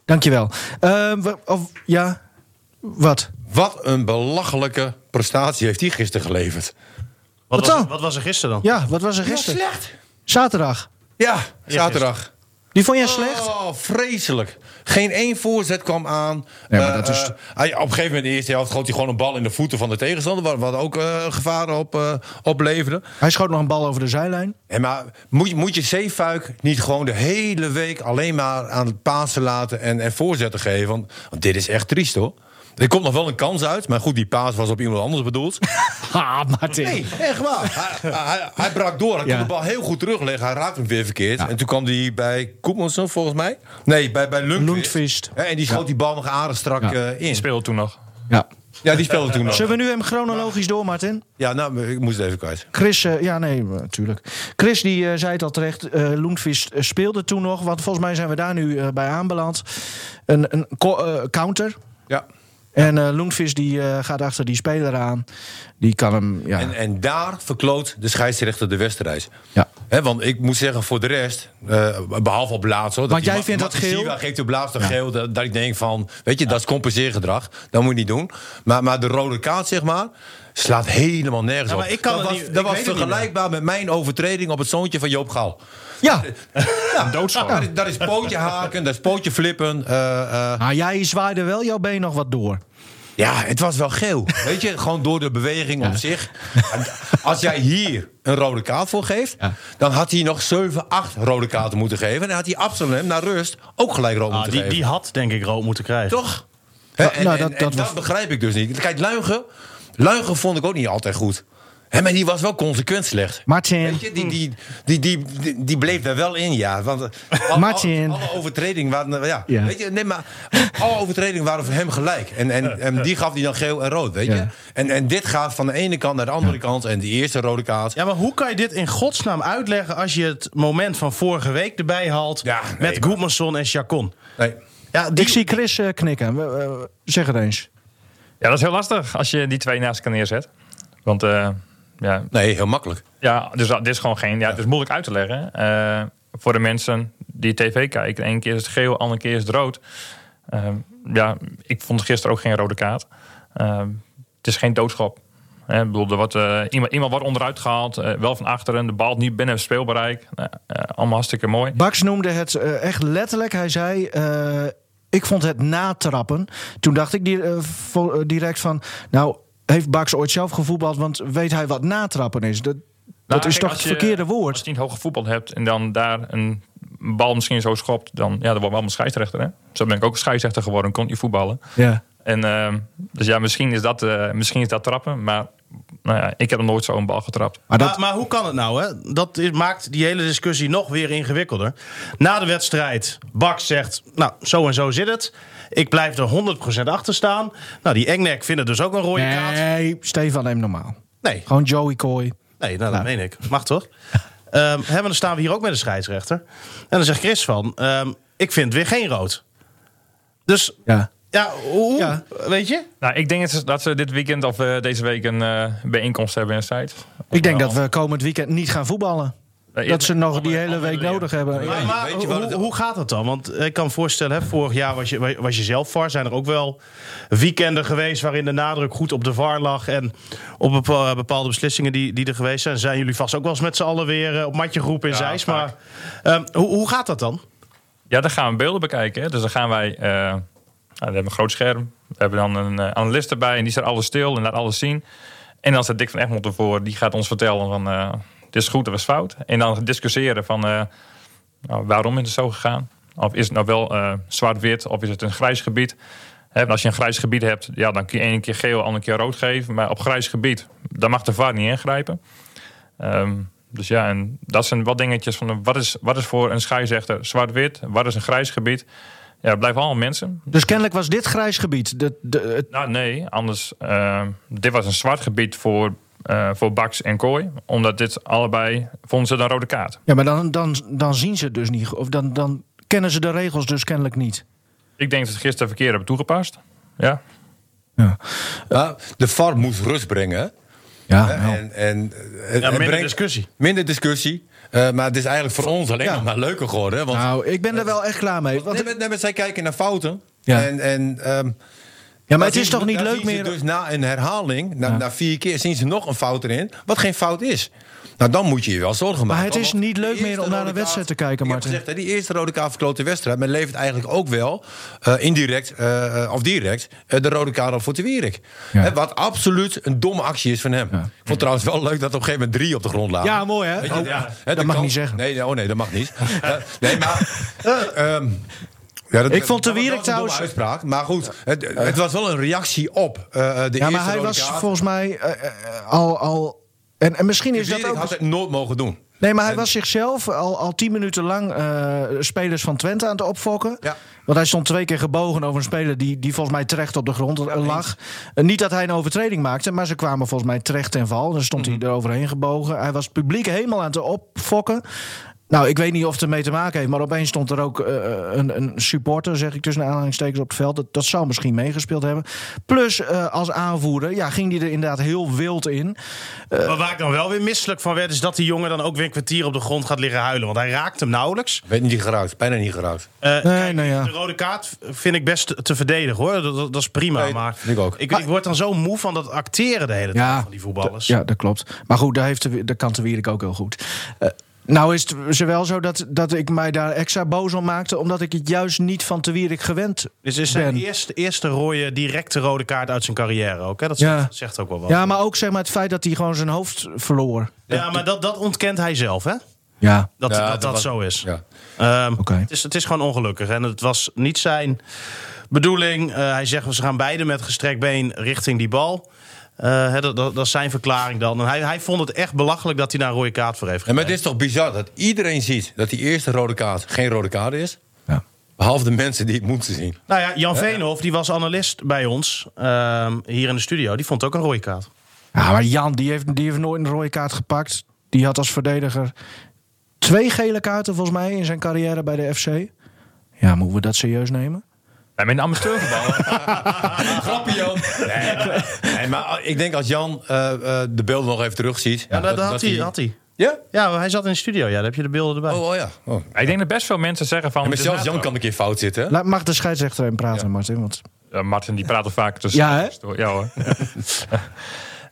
B: Dankjewel. Eh, wa- of, ja, wat?
D: Wat een belachelijke prestatie heeft hij gisteren geleverd.
E: wat,
B: Wat
E: was,
B: dan?
E: wat was er gisteren dan?
B: Ja, wat was er gisteren?
D: slecht.
B: Zaterdag.
D: Ja, zaterdag.
B: Die vond jij slecht?
D: Oh, vreselijk. Geen één voorzet kwam aan.
B: Nee, maar
D: Eh,
B: dat is-
D: eh, hij- op een gegeven moment in de eerste helft goot hij gewoon een bal in de voeten van de tegenstander. Wat, wat ook eh, gevaren op, eh, opleverde.
B: Hij schoot nog een bal over de zijlijn.
D: En maar moet, je- moet je Zeefuik niet gewoon de hele week alleen maar aan het Pasen laten en, en voorzetten geven? Want, want dit is echt triest hoor. Er komt nog wel een kans uit, maar goed, die paas was op iemand anders bedoeld.
B: Ha, Martin.
D: Nee, echt waar. hij, hij, hij brak door. Hij
B: Ja.
D: kon de bal heel goed terugleggen. Hij raakte hem weer verkeerd. En toen kwam hij bij Koepmansen, volgens mij. Nee, bij, bij Lundqvist.
B: Lundqvist.
D: Hè, En die schoot die bal nog aardig strak
B: Ja.
D: eh,
C: Die
D: in.
C: speelde toen nog.
B: Ja.
D: Ja, die speelde toen nog.
B: Zullen we nu hem chronologisch door, Martin?
D: Ja, nou, ik moest het even kwijt.
B: Chris, eh, ja nee, natuurlijk. Chris die eh, zei het al terecht, eh Loenvist eh, speelde toen nog. Want volgens mij zijn we daar nu eh, bij aanbeland. Een, een co- eh, counter.
D: Ja.
B: En eh Loenvist die eh, gaat achter die speler aan. Die kan hem, ja.
D: En, eh, en daar verkloot de scheidsrechter de wedstrijd.
B: Ja.
D: Hè, want ik moet zeggen, voor de rest, eh, behalve op laatst... Hoor,
B: Want
D: die
B: jij
D: Ma-
B: vindt dat
D: Matissewa
B: geel?
D: geeft op laatst een geel dat, dat ik denk van... Weet je, dat is compenseergedrag. Dat moet je niet doen. Maar, maar de rode kaart, zeg maar, slaat helemaal nergens
E: Ja, maar
D: op.
E: ik kan
D: dat
E: het
D: was,
E: niet-
D: dat
E: ik
D: was
E: weet het niet
D: vergelijkbaar met mijn overtreding op het zoontje van Joop Gal.
B: ja.
D: Ja, Dat, is- dat is pootje haken, dat is pootje flippen. eh, eh,
B: Maar Nou, jij zwaaide wel jouw been nog wat door.
D: ja, het was wel geel. Weet je, gewoon door de beweging op zich. En Als jij hier een rode kaart voor geeft, dan had hij nog 7, 8 rode kaarten moeten geven. En dan had hij Absalem naar rust ook gelijk rood
E: Ah,
D: moeten
E: die,
D: geven.
E: die had denk ik rood moeten krijgen.
D: Toch? Hè, en,
B: nou,
D: en-
B: dat-
D: en
B: dat
D: dat,
B: was-
D: begrijp ik dus niet. Kijk, Luigen, Luigen vond ik ook niet altijd goed. Hè, maar die was wel consequent slecht.
B: Martin,
D: Weet je, die, die, die, die, die, die bleef daar wel in, ja. Want eh, al-
B: Martin.
D: Alle, alle overtredingen waren... eh, Ja,
B: Ja.
D: Weet je, nee, maar alle overtredingen waren voor hem gelijk. En, en, en die gaf hij dan geel en rood, weet je.
B: Ja.
D: En, en dit gaat van de ene kant naar de andere kant. En die eerste rode kaart...
E: Ja, maar hoe kan je dit in godsnaam uitleggen als je het moment van vorige week erbij haalt
D: Ja, nee,
E: met
D: maar-
E: Goedmanson en Chacon?
D: Nee.
E: Ja,
B: ik zie Chris eh, knikken. We- we- zeg het eens.
C: Ja, dat is heel lastig als je die twee naast elkaar neerzet. Want eh, ja,
D: nee, heel makkelijk.
C: Ja, dus dat- dit is gewoon geen. Ja, het is moeilijk uit te leggen. eh, voor de mensen die tv kijken. Eén keer is het geel, andere keer is het rood. Eh, ja, ik vond gisteren ook geen rode kaart. Eh, het is geen doodschap. Eh, ik bedoel, er wordt, eh, iemand, iemand wordt onderuit gehaald. eh, wel van achteren. De bal niet binnen het speelbereik. Nou, eh, allemaal hartstikke mooi.
B: Baks noemde het eh, echt letterlijk. Hij zei. eh, ik vond het natrappen. Toen dacht ik di- eh, vo- eh, direct van. Nou, heeft Baks ooit zelf gevoetbald? Want weet hij wat natrappen is? Dat, dat
C: Nou,
B: is
C: kijk,
B: toch
C: als
B: het
C: je-
B: verkeerde
C: Als
B: woord?
C: je niet hoog gevoetbald hebt en dan daar een bal misschien zo schopt. Dan, ja, dan wordt wel een scheidsrechter. Hè? Zo ben ik ook een scheidsrechter geworden. Kon je voetballen.
B: Ja.
C: En, ehm, dus ja, misschien is, dat, eh, misschien is dat trappen. Maar nou ja, ik heb nog nooit zo'n bal getrapt.
B: Maar dat,
E: Maar, maar hoe kan het nou? Hè? Dat is- maakt die hele discussie nog weer ingewikkelder. Na de wedstrijd, Bak zegt, nou, zo en zo zit het. Ik blijf er 100% achter staan. Nou, die Engnek vindt het dus ook een rode kaart.
B: nee, Stefan hem normaal.
E: Nee,
B: Gewoon Joey Coy. Nou.
E: nee nou, dat meen ik. Mag toch? Eh, Ehm hè, want dan staan we hier ook met een scheidsrechter. En dan zegt Chris van, ehm, ik vind weer geen rood. Dus
B: Ja.
E: ja, hoe?
B: Ja.
E: Weet je?
C: Nou, ik denk dat ze- dat ze dit weekend of eh, deze week een eh, bijeenkomst hebben in Zuid.
B: Ik denk dat we komend weekend niet gaan voetballen.
C: Eh,
B: Dat ze nog
C: andere-
B: die hele
C: andere
B: week
C: leer.
B: nodig hebben.
E: Maar, maar
D: weet je
E: hoe,
D: wat het-
E: hoe gaat dat dan? Want ik kan me voorstellen, hè, vorig jaar was je, was je zelf VAR. Zijn er ook wel weekenden geweest waarin de nadruk goed op de VAR lag. En op bepa- bepaalde beslissingen die, die er geweest zijn. Zijn jullie vast ook wel eens met z'n allen weer eh, op matje geroepen in
C: Ja,
E: Zeist.
C: vaak.
E: Maar ehm, hoe, hoe gaat dat dan?
C: Ja, dan gaan we beelden bekijken. Hè. Dus dan gaan wij. eh, nou, we hebben een groot scherm. We hebben dan een eh, analist erbij. En die staat alles stil en laat alles zien. En dan staat Dick van Egmond ervoor. Die gaat ons vertellen van. eh, dit is goed, dat was fout. En dan discussiëren van. eh, nou, waarom is het zo gegaan? Of is het nou wel eh, zwart-wit? Of is het een grijs gebied? Hè, want als je een grijs gebied hebt, ja, dan kun je één keer geel, andere keer rood geven. Maar op grijs gebied, daar mag de VAR niet ingrijpen. Ehm, dus ja, en dat zijn wat dingetjes van eh, wat is, wat is voor een scheidsrechter zwart-wit, wat is een grijs gebied. Ja, het blijven allemaal mensen.
B: Dus kennelijk was dit grijs gebied. De, de, het-
C: Nou nee, anders, ehm, dit was een zwart gebied voor, eh, voor Baks en Kooi. Omdat dit allebei, vonden ze dan rode kaart.
B: ja, maar dan, dan, dan zien ze het dus niet. Of dan, dan kennen ze de regels dus kennelijk niet.
C: Ik denk dat ze gisteren verkeerd hebben toegepast. Ja,
D: Ja, de VAR moet rust brengen. hè.
B: Ja,
D: En, en, en- en
E: minder
D: brengt-
E: discussie.
D: Minder discussie. Eh, maar het is eigenlijk voor ons alleen nog maar leuker geworden. hè, Want
B: Nou, ik ben er wel echt klaar mee. Want
D: nee, maar- nee, maar zij kijken naar fouten.
B: Ja.
D: En, en, ehm,
B: ja, maar
D: dan
B: het is
D: zien-
B: toch niet
D: dan
B: leuk
D: zien ze
B: meer.
D: Dus na een herhaling, na, na vier keer, zien ze nog een fout erin. Wat geen fout is. Nou, dan moet je je wel zorgen maken.
B: het is
D: Want
B: niet
D: die
B: leuk
D: eerste
B: meer om naar
D: rode
B: een wedstrijd
D: kaart-
B: te kijken,
D: Ik heb
B: Martin.
D: gezegd, hè, die eerste rode kaart verklote wedstrijd. Men levert eigenlijk ook wel eh, indirect eh, eh, of direct eh, de rode kaart op voor de Wierik.
B: Ja.
D: Hè, wat absoluut een domme actie is van hem. Ik vond trouwens wel leuk dat op een gegeven moment drie op de grond lagen.
B: Ja, mooi, hè?
D: Weet je,
B: Oh,
D: ja, hè, de
B: dat mag
D: kans-
B: niet zeggen.
D: Nee, nee, oh nee, dat mag niet. Eh, nee, maar. ehm, ja, dat-
B: Ik vond de
D: dat was wel
B: Wierik
D: een
B: trouwens-
D: domme uitspraak, maar goed, het, het was wel een reactie op eh, eh, de
B: Ja,
D: eerste
B: maar hij
D: rode
B: was
D: kaart.
B: volgens mij eh, eh, al. al en, en misschien is
D: De
B: dat
D: Wierik had
B: ook. dus-
D: het nooit mogen doen.
B: Nee, maar hij was zichzelf al, al tien minuten lang eh, spelers van Twente aan het opfokken.
D: Ja.
B: Want hij stond twee keer gebogen over een speler die, die volgens mij terecht op de grond lag. Eh, Niet dat hij een overtreding maakte, maar ze kwamen volgens mij terecht ten val. Dan stond
E: Mhm.
B: hij er overheen gebogen. Hij was het publiek helemaal aan het opfokken. Nou, ik weet niet of het ermee te maken heeft, maar opeens stond er ook eh, een, een supporter, zeg ik tussen aanhalingstekens, op het veld. Dat, dat zou misschien meegespeeld hebben. Plus, eh, als aanvoerder, ja, ging hij er inderdaad heel wild in.
E: Maar waar ik dan wel weer misselijk van werd, is dat die jongen dan ook weer een kwartier op de grond gaat liggen huilen. Want hij raakt hem nauwelijks.
D: Weet niet geraakt, bijna niet geraakt.
E: Eh, kijk,
B: nou ja.
E: De rode kaart vind ik best te- te verdedigen hoor. Dat, dat, dat is prima.
D: Nee,
E: maar
D: vind ik ook. Ah.
E: Ik, ik word dan zo moe van dat acteren de hele tijd
B: Ja,
E: van die voetballers.
B: Ja, dat klopt. Maar goed, daar, heeft de, daar kan de Wierik ook heel goed. Eh, nou is het ze wel zo dat, dat ik mij daar extra boos om maakte... omdat ik het juist niet van de Wierik gewend
E: Dus is
B: ben.
E: zijn eerste, eerste rode, directe rode kaart uit zijn carrière ook. Hè? Dat
B: Ja.
E: zegt, zegt ook wel wat.
B: Ja, maar ook zeg maar, het feit dat hij gewoon zijn hoofd verloor.
E: Ja, maar dat, dat ontkent hij zelf, hè?
B: Ja,
E: Dat
D: Ja,
E: dat,
D: dat
E: dat
D: was-
E: zo is.
D: Ja.
E: Ehm,
B: Oké.
E: het is. Het is gewoon ongelukkig. En het was niet zijn bedoeling. Eh, hij zegt, ze gaan beide met gestrekt been richting die bal. Eh, hè, dat, dat, dat is zijn verklaring dan. En hij, hij vond het echt belachelijk dat hij daar een rode kaart voor
D: En
E: heeft gekregen.
D: maar het is toch bizar dat iedereen ziet dat die eerste rode kaart geen rode kaart is.
B: Ja.
D: Behalve de mensen die het moeten zien.
E: Nou ja, Jan Veenhoff, die was analist bij ons ehm, hier in de studio. Die vond ook een rode kaart.
B: ja maar Jan, die heeft, die heeft nooit een rode kaart gepakt. Die had als verdediger twee gele kaarten volgens mij in zijn carrière bij de FC. Ja, moeten we dat serieus nemen?
C: bij mijn amateurvoetbal.
D: Grappie, Jan. Nee, maar- nee, maar ik denk als Jan eh, eh, de beelden nog even terugziet.
E: Ja, dat, had, hij, had hij.
D: Ja?
E: Ja, hij zat in de studio. Ja, daar heb je de beelden erbij.
D: Oh, oh ja. Oh.
C: ik denk dat best veel mensen zeggen van.
D: En maar
C: het is
D: zelfs
C: na-
D: Jan kan een keer fout zitten. hè?
B: Laat, mag de scheidsrechter even praten, Martin? Want
C: Ja, Eh, Martin die praat al vaker tussen.
B: Ja, hè?
C: Ja, hoor.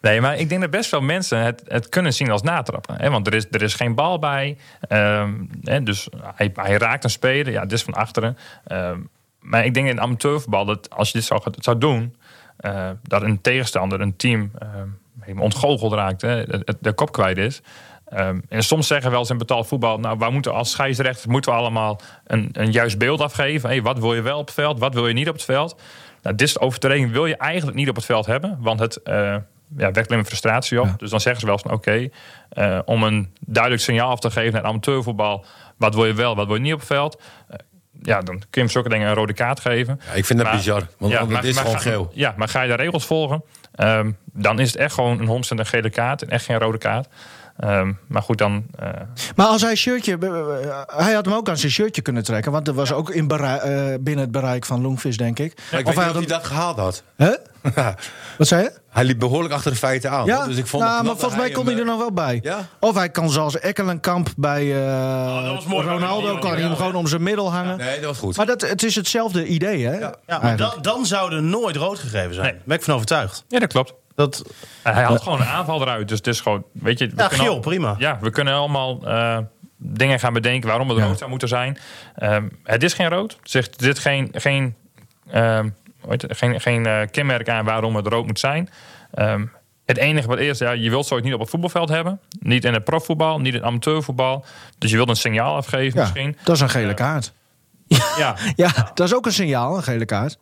C: nee, maar ik denk dat best veel mensen het, het kunnen zien als natrappen. Hè? Want er is, er is geen bal bij. Ehm, hè? Dus hij, hij raakt een speler. Ja, dit is van achteren. Ehm, maar ik denk in amateurvoetbal dat als je dit zou, zou doen... eh, dat een tegenstander, een team, ehm helemaal ontgoocheld raakt. Hè? De, de- de kop kwijt is. Ehm, en soms zeggen we wel eens in betaald voetbal... nou, wij moeten als scheidsrechter moeten we allemaal een, een juist beeld afgeven. Hey, wat wil je wel op het veld, wat wil je niet op het veld? Nou, dit soort overtreding wil je eigenlijk niet op het veld hebben... want het eh, ja, wekt alleen maar frustratie op. Dus dan zeggen ze wel eens van... oké, eh, om een duidelijk signaal af te geven naar amateurvoetbal... wat wil je wel, wat wil je niet op het veld... eh, ja, dan kun je hem zulke dingen een rode kaart geven.
D: Ja, ik vind dat
C: Maar-
D: bizar, want want het is gewoon
C: ga,
D: geel.
C: Ja, maar ga je de regels volgen, ehm, dan is het echt gewoon een 100% een gele kaart en echt geen rode kaart. Ehm, maar goed, dan. eh,
B: Maar als hij shirtje. eh, Hij had hem ook aan zijn shirtje kunnen trekken. Want dat was ook in berei- eh, binnen het bereik van Longvis, denk ik.
D: Maar ik
B: of
D: weet
B: hij
D: niet
B: had
D: of hij
B: hem.
D: dat gehaald had.
B: Hè? Wat zei je?
D: hij liep behoorlijk achter de feiten aan.
B: Ja,
D: hoor. dus ik vond
B: nou,
D: het knap
B: maar
D: dat
B: volgens mij
D: hij
B: kon
D: hem, eh,
B: hij er nog wel bij.
D: Ja? Nou,
B: Of hij kan zoals Ekkelenkamp bij eh,
E: was mooi.
B: Ronaldo, kan hij hem gewoon om zijn middel hangen.
D: eh, Nee, dat was goed.
B: Maar dat, het is hetzelfde idee, hè?
E: Ja, maar
B: Eigenlijk.
E: dan, dan zou er nooit rood gegeven zijn. Daar ben ik van overtuigd.
C: ja, dat klopt.
E: Dat,
C: Hij haalt gewoon een aanval eruit. Dus het is gewoon, weet je... we
E: ja,
C: kunnen
E: geel,
C: al-
E: prima.
C: Ja, we kunnen allemaal eh, dingen gaan bedenken waarom het rood zou moeten zijn. Ehm, het is geen rood. Het zegt dit geen, geen, ehm, hoe heet het? geen, geen eh, kenmerk aan waarom het rood moet zijn. Ehm, het enige wat is, ja, je wilt zoiets niet op het voetbalveld hebben. Niet in het profvoetbal, niet in het amateurvoetbal. Dus je wilt een signaal afgeven
B: Ja,
C: misschien.
B: dat is een gele kaart.
C: Ja,
B: Ja, dat is ook een signaal, een gele kaart.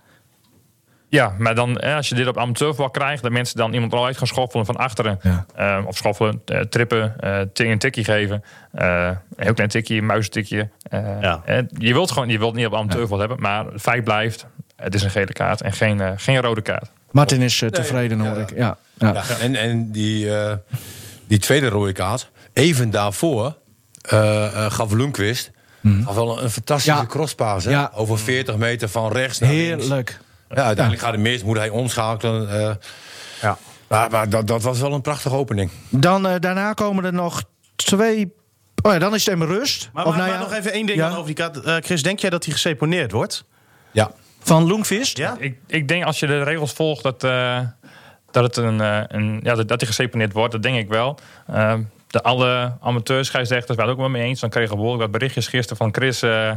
C: Ja, maar dan, hè, als je dit op amateurvoetbal krijgt, dat mensen dan iemand al uit gaan schoffelen van achteren.
B: Ja.
C: Eh, of schoffelen, eh, trippen, eh ting een tikkie geven. Eh, een heel klein tikkie, een muizentikje. Eh,
E: Ja.
C: eh, je wilt gewoon je wilt niet op amateurvoetbal hebben, maar het feit blijft, het is een gele kaart en geen, eh, geen rode kaart.
B: Martin is eh, tevreden, hoor ik. Ja, ja.
D: Ja, En, en die, eh, die tweede rode kaart, even daarvoor, eh, eh, gaf Lundqvist gaf wel een, een fantastische
B: Mhm. Ja.
D: crosspaas. hè?
B: Ja.
D: Over 40 meter van rechts naar links.
B: Heerlijk.
D: Ja, uiteindelijk gaat het mis, moet hij omschakelen. eh.
E: Ja.
D: maar maar dat, dat was wel een prachtige opening.
B: Dan, eh, daarna komen er nog twee... Oh ja, dan is het even rust.
E: Maar,
B: of
E: maar,
B: nou
E: maar
B: ja,
E: nog even één ding
B: ja,
E: dan over die kaart. Eh, Chris, denk jij dat hij geseponeerd wordt?
D: Ja.
B: Van Loengvist?
E: Ja?
C: Ik, ik denk als je de regels volgt dat, eh, dat, het een, eh, een, ja, dat, dat die geseponeerd wordt, dat denk ik wel. Eh, de alle amateurscheidsrechters waren het ook wel mee eens. Dan kregen we behoorlijk wat berichtjes gisteren van Chris. eh, eh,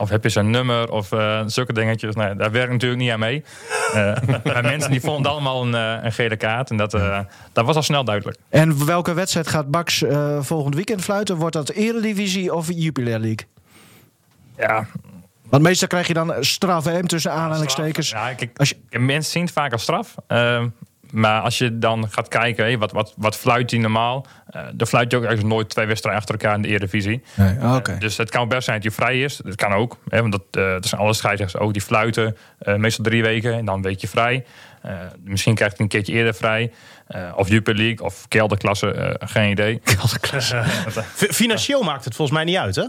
C: of heb je zijn nummer of eh, zulke dingetjes. Nee, daar werkt natuurlijk niet aan mee. Eh, maar mensen die vonden allemaal een, eh, een gele kaart. En dat, eh, dat was al snel duidelijk.
B: En welke wedstrijd gaat Bax eh, volgend weekend fluiten? Wordt dat Eredivisie of Jupiler League?
C: Ja,
B: Want meestal krijg je dan straf, hè, tussen aanhalingstekens.
C: Straf. Ja, kijk,
B: Als je-
C: Mensen zien het vaak als straf. Ehm, maar als je dan gaat kijken, hé, wat, wat, wat fluit hij normaal? Eh dan fluit je ook eigenlijk nooit twee wedstrijden achter elkaar in de Eredivisie.
B: Nee, ah, oké.
C: Dus het kan best zijn dat hij vrij is. Dat kan ook. Hè, want dat, eh, dat zijn alle scheidsrechters ook. Die fluiten eh, meestal drie weken en dan een weekje vrij. Eh, misschien krijgt hij een keertje eerder vrij. Eh, of Jupiler League of kelderklasse. eh, geen idee. Kelderklasse.
E: Fi- financieel maakt het volgens mij niet uit, hè?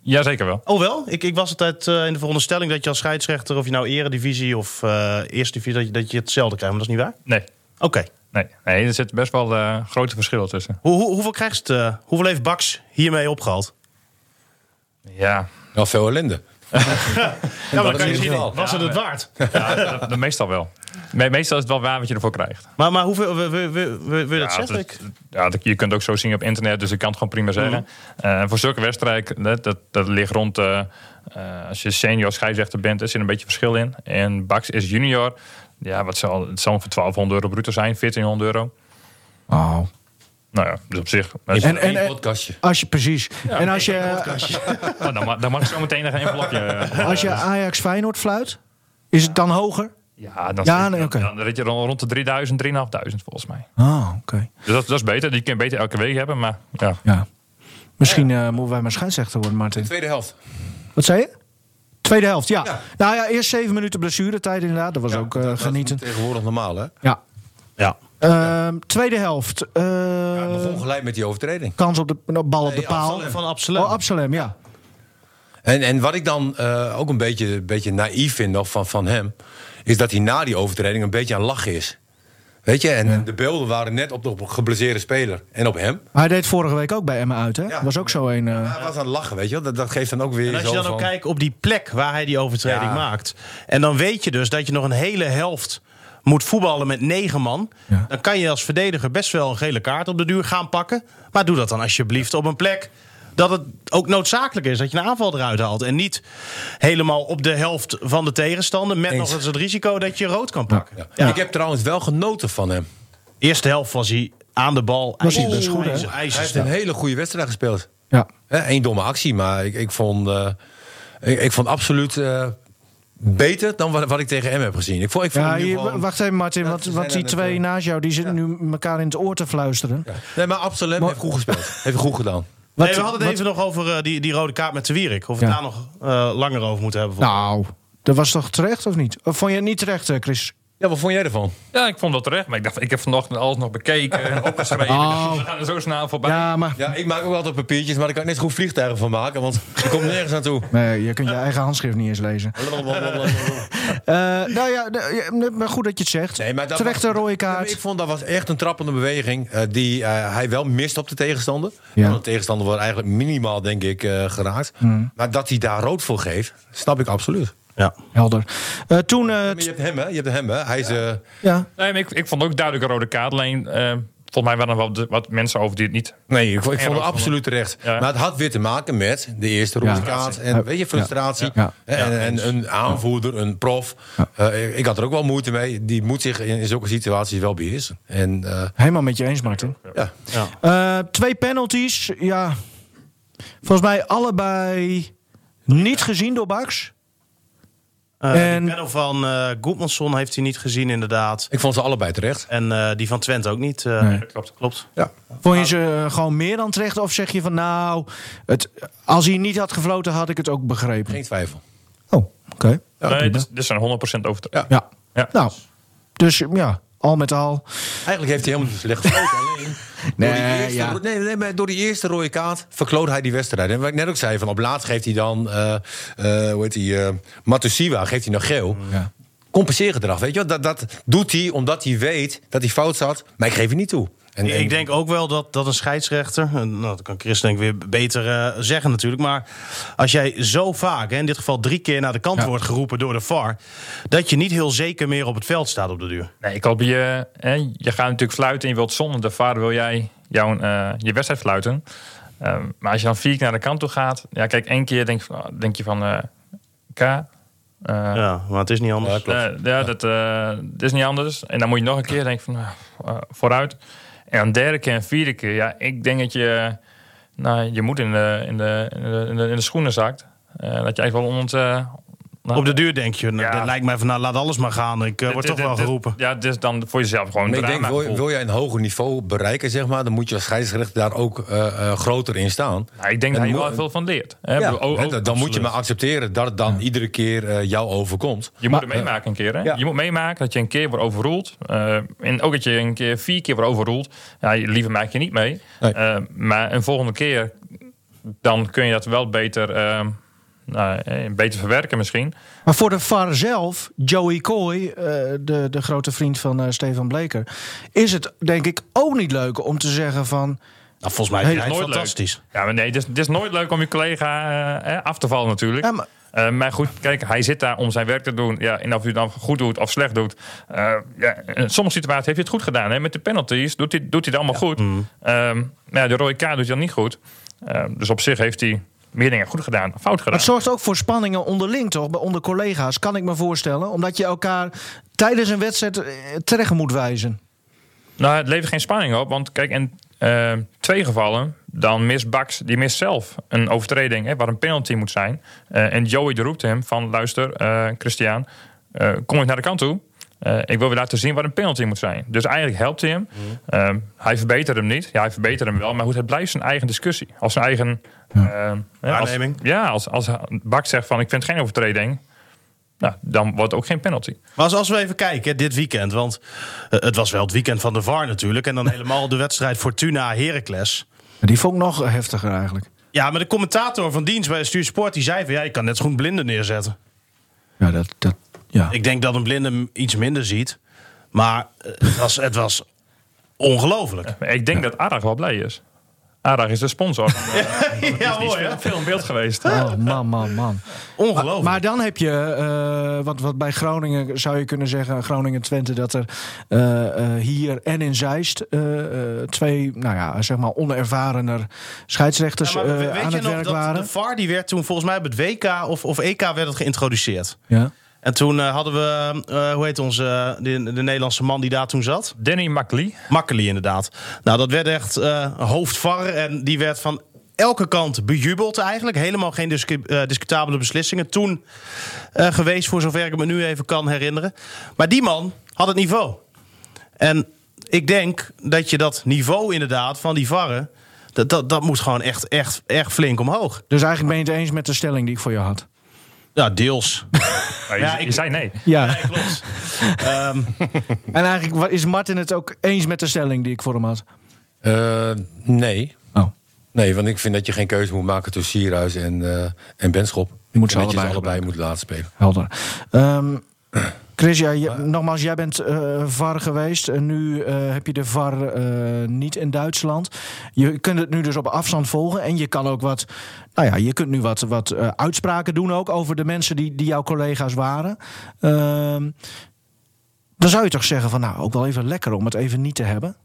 C: Jazeker wel.
E: Oh wel? Ik, ik was altijd eh, in de veronderstelling dat je als scheidsrechter... of je nou eredivisie of eh, eerste divisie... Dat je, dat je hetzelfde krijgt, maar dat is niet waar?
C: Nee.
E: Oké.
C: Nee, nee er zit best wel eh, grote verschillen tussen.
E: Hoe, hoe, hoeveel, krijgt het, eh, hoeveel heeft Bax hiermee opgehaald?
C: Ja,
D: Wel veel ellende.
E: Ja, maar
D: dat is in ieder geval.
E: Was het het waard?
C: Ja, dat, dat meestal wel. Me- Meestal is het wel waar wat je ervoor krijgt.
E: Maar, maar hoeveel... Wil, wil, wil, wil wil je dat
C: Ja,
E: zeggen?
C: dat- ja, dat- je kunt het ook zo zien op internet, dus ik kan het gewoon prima zeggen. Eh, voor zulke wedstrijden, dat, dat, dat ligt rond... eh, eh, als je senior scheidsrechter bent, er zit een beetje verschil in. En Bax is junior. Ja, wat zal, het zal ongeveer 1200 euro bruto zijn, 1400 euro.
B: Oh.
C: Nou ja, dus op zich. dat is-
D: En,
B: en-
D: een
B: en-
D: podcastje.
B: Als je, precies. en als je,
C: nou, dan, ma- dan mag ik zo meteen nog een envelopje. eh,
B: als je Ajax Feyenoord fluit, is het dan hoger?
C: Ja, dan,
B: Ja, nee, oké.
C: dan, dan zit je rond rond de 3000, 3500 volgens mij.
B: Ah, oké.
C: Dus dat, dat is beter. Die kun je beter elke week hebben, maar ja.
B: Ja. Misschien eh, moeten wij maar scheidsrechter worden, Martin.
D: Tweede helft.
B: Wat zei je? Tweede helft, ja. Nou ja, eerst zeven minuten blessuretijd inderdaad. Dat was ook eh, genieten.
D: Dat is tegenwoordig normaal, hè?
B: Ja.
E: Ja.
B: Ehm, tweede helft. eh,
D: Ja, begon gelijk met die overtreding.
B: kans op de nou, bal op de
D: Nee,
B: paal.
D: Absalem.
E: Van Absalem.
B: Oh, Absalem, ja.
D: En, en wat ik dan eh, ook een beetje, een beetje naïef vind nog van, van hem... is dat hij na die overtreding een beetje aan het lachen is. Weet je, en de beelden waren net op de geblesseerde speler en op hem.
B: Hij deed vorige week ook bij Emmen uit, hè?
D: Ja.
B: Was ook zo een... eh,
D: Hij was aan het lachen, weet je wel. Dat, dat geeft dan ook weer
E: En als
D: zo
E: je dan
D: van...
E: ook kijkt op die plek waar hij die overtreding
D: Ja.
E: maakt. En dan weet je dus dat je nog een hele helft moet voetballen met negen man.
B: Ja.
E: Dan kan je als verdediger best wel een gele kaart op de duur gaan pakken. Maar doe dat dan alsjeblieft op een plek dat het ook noodzakelijk is. Dat je een aanval eruit haalt. En niet helemaal op de helft van de tegenstander. Met
D: Eens.
E: nog eens het risico dat je rood kan pakken.
D: Ja. Ik heb trouwens wel genoten van hem.
E: Eerste helft was hij aan de bal.
B: Was hij
E: IJzer-
B: best goed, hè?
E: ijzer-
D: Hij heeft
E: ijzersterk.
D: een hele goede wedstrijd gespeeld.
B: ja.
D: Eén domme actie, maar ik, ik, vond, eh, ik, ik vond absoluut eh, beter dan wat, wat ik tegen hem heb gezien. Ik vond, ik vond
B: ja
D: hem in
B: hier,
D: ieder geval-
B: wacht even, Martin.
D: Ja,
B: want,
D: ze
B: want die
D: zijn aan het,
B: twee
D: eh,
B: naast jou, die zitten nu elkaar in het oor te fluisteren.
D: Nee, maar Absalem heeft goed gespeeld. heeft het goed gedaan.
B: Wat-
E: nee, we hadden het
B: wat-
E: even nog over eh, die, die rode kaart met de Wierik. Of we
B: Ja.
E: daar nog eh, langer over moeten hebben.
B: Nou, dat was toch terecht of niet? Of vond je het niet terecht, eh, Chris?
D: Ja, wat vond jij ervan?
C: Ja, ik vond dat terecht. Maar ik dacht, ik heb vanochtend alles nog bekeken en opgeschreven.
B: Oh.
C: Dus we gaan er zo snel voorbij.
B: Ja, maar
D: Ja, ik maak ook altijd papiertjes, maar daar kan ik net zo goed vliegtuigen van maken, want je komt nergens naartoe.
B: nee, je
D: Eh.
B: kunt je eigen handschrift niet eens lezen. Eh, nou ja, de- ja, maar goed dat je het zegt.
D: Nee, maar dat
B: Terechte
D: was-
B: rode
D: Nee, maar
B: kaart.
D: Ik vond dat was echt een trappende beweging eh, die eh, hij wel mist op de tegenstander.
B: Ja.
D: Want de tegenstander wordt eigenlijk minimaal, denk ik, eh, geraakt.
B: Hmm.
D: Maar dat hij daar rood voor geeft, snap ik absoluut.
E: Ja.
B: Helder. Eh, toen... eh,
D: Maar je hebt hem, hè? Je hebt hem, hè? Hij is, eh,
B: ja.
C: Nee, maar ik, ik vond ook duidelijk een rode kaart. Alleen, eh, volgens mij waren er wel de- wat mensen over die het niet...
D: nee, ik, ik
C: rood
D: vond
C: voor
D: het absoluut terecht.
C: Ja.
D: Maar het had weer te maken met de eerste
B: Ja.
D: rode kaart. En
B: Ja.
D: weet je, frustratie.
B: Ja.
D: En, en een aanvoerder, een prof. Eh, ik- ik had er ook wel moeite mee. Die moet zich in, in zulke situaties wel beheersen. En eh,
B: Helemaal met je eens, Martin.
D: ja,
B: Eh, twee penalties. Ja. Volgens mij allebei niet gezien door Bax.
E: Eh
B: En-
E: Die panel van eh Goedmanson heeft hij niet gezien, inderdaad.
D: ik vond ze allebei terecht.
E: En eh, die van Twente ook niet. eh,
B: Nee.
E: Klopt. klopt.
D: Ja.
B: Vond je ze eh, gewoon meer dan terecht? Of zeg je van nou, het, als hij niet had gefloten had ik het ook begrepen?
D: Geen twijfel.
B: Oh, oké. Ja,
C: nee,
B: prima.
C: dit, dit zijn 100% over.
D: Ja.
B: ja.
C: Ja.
B: Nou, dus ja, al met al.
D: Eigenlijk heeft hij helemaal niet slecht gespeeld. Alleen door die
B: Nee,
D: eerste,
B: ja.
D: ro- nee, nee, maar door die eerste rode kaart verkloot hij die wedstrijd. En wat ik net ook zei, van op laatst geeft hij dan, eh eh, hoe heet hij, eh, Matusiwa, geeft hij nog geel.
B: Mm. Ja.
D: Compenseergedrag, weet je wel. Dat, dat doet hij omdat hij weet dat hij fout zat, maar ik geef hem niet toe. En,
E: Ik-
D: en-
E: Ik denk ook wel dat, dat een scheidsrechter, eh, nou, dat kan Chris denk ik weer beter eh, zeggen natuurlijk, maar als jij zo vaak, hè, in dit geval drie keer naar de kant wordt geroepen door de VAR, dat je niet heel zeker meer op het veld staat op de duur.
C: Nee, ik hoop je. Hè, je gaat natuurlijk fluiten en je wilt zonder de vader wil jij jouw, eh, je wedstrijd fluiten. Ehm, maar als je dan vier keer naar de kant toe gaat, ja, kijk, één keer denk, denk je van eh, K. eh,
E: Ja, maar het is niet anders.
C: eh, ja, dat, eh, dat is niet anders. En dan moet je nog een keer denken van nou, eh, vooruit. En dan derde keer en vierde keer. Ja, ik denk dat je, nou, je moet in de, in de, in de, in de, in de schoenen zakt. Eh, dat je eigenlijk wel onder. het, eh, nou,
E: op de duur denk je, nou,
C: Ja.
E: dat lijkt mij van nou laat alles maar gaan, ik eh, word
C: dit-
E: toch wel
C: dit-
E: geroepen.
C: Ja, dit is dan voor jezelf gewoon.
D: Maar
C: een
D: ik denk, wil,
C: dramagevoel.
D: wil jij een hoger niveau bereiken, zeg maar, dan moet je als scheidsrechter daar ook eh, eh, groter in staan.
C: Nou, ik denk
D: En
C: dat hij
D: mo-
C: wel veel van leert. Hè,
D: Ja,
C: bedoel, oh,
D: hè,
C: oh,
D: dan moet je maar accepteren dat het dan iedere keer eh, jou overkomt.
C: je moet het meemaken een keer. Hè?
D: Ja.
C: Je moet meemaken dat je een keer wordt overroeld. Eh, en ook dat je een keer vier keer wordt overroeld. Ja, je- liever maak je niet mee.
D: Nee.
C: Eh, maar een volgende keer, dan kun je dat wel beter, eh, nou, eh, beter verwerken misschien.
B: Maar voor de VAR zelf, Joey Coy, eh, de, de grote vriend van eh, Stefan Bleker... is het denk ik ook niet leuk om te zeggen van...
E: Nou, volgens mij
B: Hey,
E: is
C: is
E: het
C: nooit
E: fantastisch.
C: Ja, maar nee, het is, het is nooit leuk om je collega eh, eh, af te vallen natuurlijk.
B: Ja, maar-
C: Eh, maar goed, kijk, hij zit daar om zijn werk te doen. Ja, en of hij het dan goed doet of slecht doet. Eh, ja, in sommige situaties heeft hij het goed gedaan. Hè? Met de penalties doet hij, doet hij het allemaal goed. Ehm, maar ja, de rode kaart doet hij dan niet goed. Ehm, dus op zich heeft hij meer dingen goed gedaan, dan fout gedaan.
B: Het zorgt ook voor spanningen onderling, toch? Bij- Onder collega's, kan ik me voorstellen. Omdat je elkaar tijdens een wedstrijd eh, terecht moet wijzen.
C: Nou, het levert geen spanning op. Want kijk, in eh, twee gevallen, dan mist Bax, die mist zelf een overtreding hè, waar een penalty moet zijn. Eh, en Joey die roept hem van, luister eh, Christian, eh, kom eens naar de kant toe. Eh, ik wil weer laten zien waar een penalty moet zijn. Dus eigenlijk helpt hij hem. Eh, hij verbetert hem niet. Ja, hij verbetert hem wel. Maar goed, het blijft zijn eigen discussie. Als zijn eigen... eh, hè, als-
E: Waarneming.
C: ja, als, als Bax zegt van, ik vind het geen overtreding. Nou, dan wordt het ook geen penalty.
E: Maar als, als we even kijken, hè, dit weekend, want eh, het was wel het weekend van de VAR natuurlijk, en dan helemaal de wedstrijd Fortuna-Heracles.
B: Die vond ik nog heftiger eigenlijk.
E: Ja, maar de commentator van dienst bij Stuursport die zei van ja, je kan net zo goed blinden neerzetten.
B: Ja, dat... dat ja.
E: Ik denk dat een blinde hem iets minder ziet, maar eh, het was, het was ongelooflijk.
C: Maar Ik denk dat Adag wel blij is. Adag is de sponsor.
E: Ja, mooi hè?
C: Oh, Ja, veel in beeld geweest.
B: Oh, man, man, man.
E: Ongelooflijk.
B: Maar dan heb je, eh, wat, wat bij Groningen zou je kunnen zeggen, Groningen-Twente, dat er eh, eh, hier en in Zeist eh, eh, twee, nou ja, zeg maar onervarener scheidsrechters
E: Ja, maar we-
B: eh,
E: weet
B: aan
E: je
B: het
E: nog
B: werk
E: dat
B: waren.
E: de VAR die werd toen volgens mij op het WK of, of EK werd het geïntroduceerd.
B: Ja.
E: En toen eh, hadden we, eh, hoe heet onze, eh, de, de Nederlandse man die daar toen zat?
C: Danny Makli.
E: Makkely inderdaad. Nou, dat werd echt eh hoofdvar en die werd van elke kant bejubeld eigenlijk. Helemaal geen discu- eh, discutabele beslissingen toen eh, geweest, voor zover ik me nu even kan herinneren. Maar die man had het niveau. En ik denk dat je dat niveau inderdaad van die varren, dat, dat, dat moet gewoon echt, echt, echt flink omhoog.
B: Dus eigenlijk ben je het eens met de stelling die ik voor je had.
E: Ja, deels.
C: Maar je,
E: Ja, ik-
C: je zei nee.
B: Ja.
E: Klopt. Ehm,
B: En eigenlijk wa- is Martin het ook eens met de stelling die ik voor hem had.
D: Eh, nee.
B: Oh.
D: Nee, want ik vind dat je geen keuze moet maken tussen Sierhuis en, eh, en Benschop.
B: Je moet ze
D: En dat je
B: allebei
D: ze allebei moet laten spelen.
B: Helder. Ehm Chris, ja, je- nogmaals, jij bent eh, VAR geweest. En nu eh, heb je de VAR eh, niet in Duitsland. Je kunt het nu dus op afstand volgen. En je kan ook wat. Nou ja, je kunt nu wat, wat eh, uitspraken doen ook over de mensen die, die jouw collega's waren. Ehm, dan zou je toch zeggen van nou, ook wel even lekker om het even niet te hebben.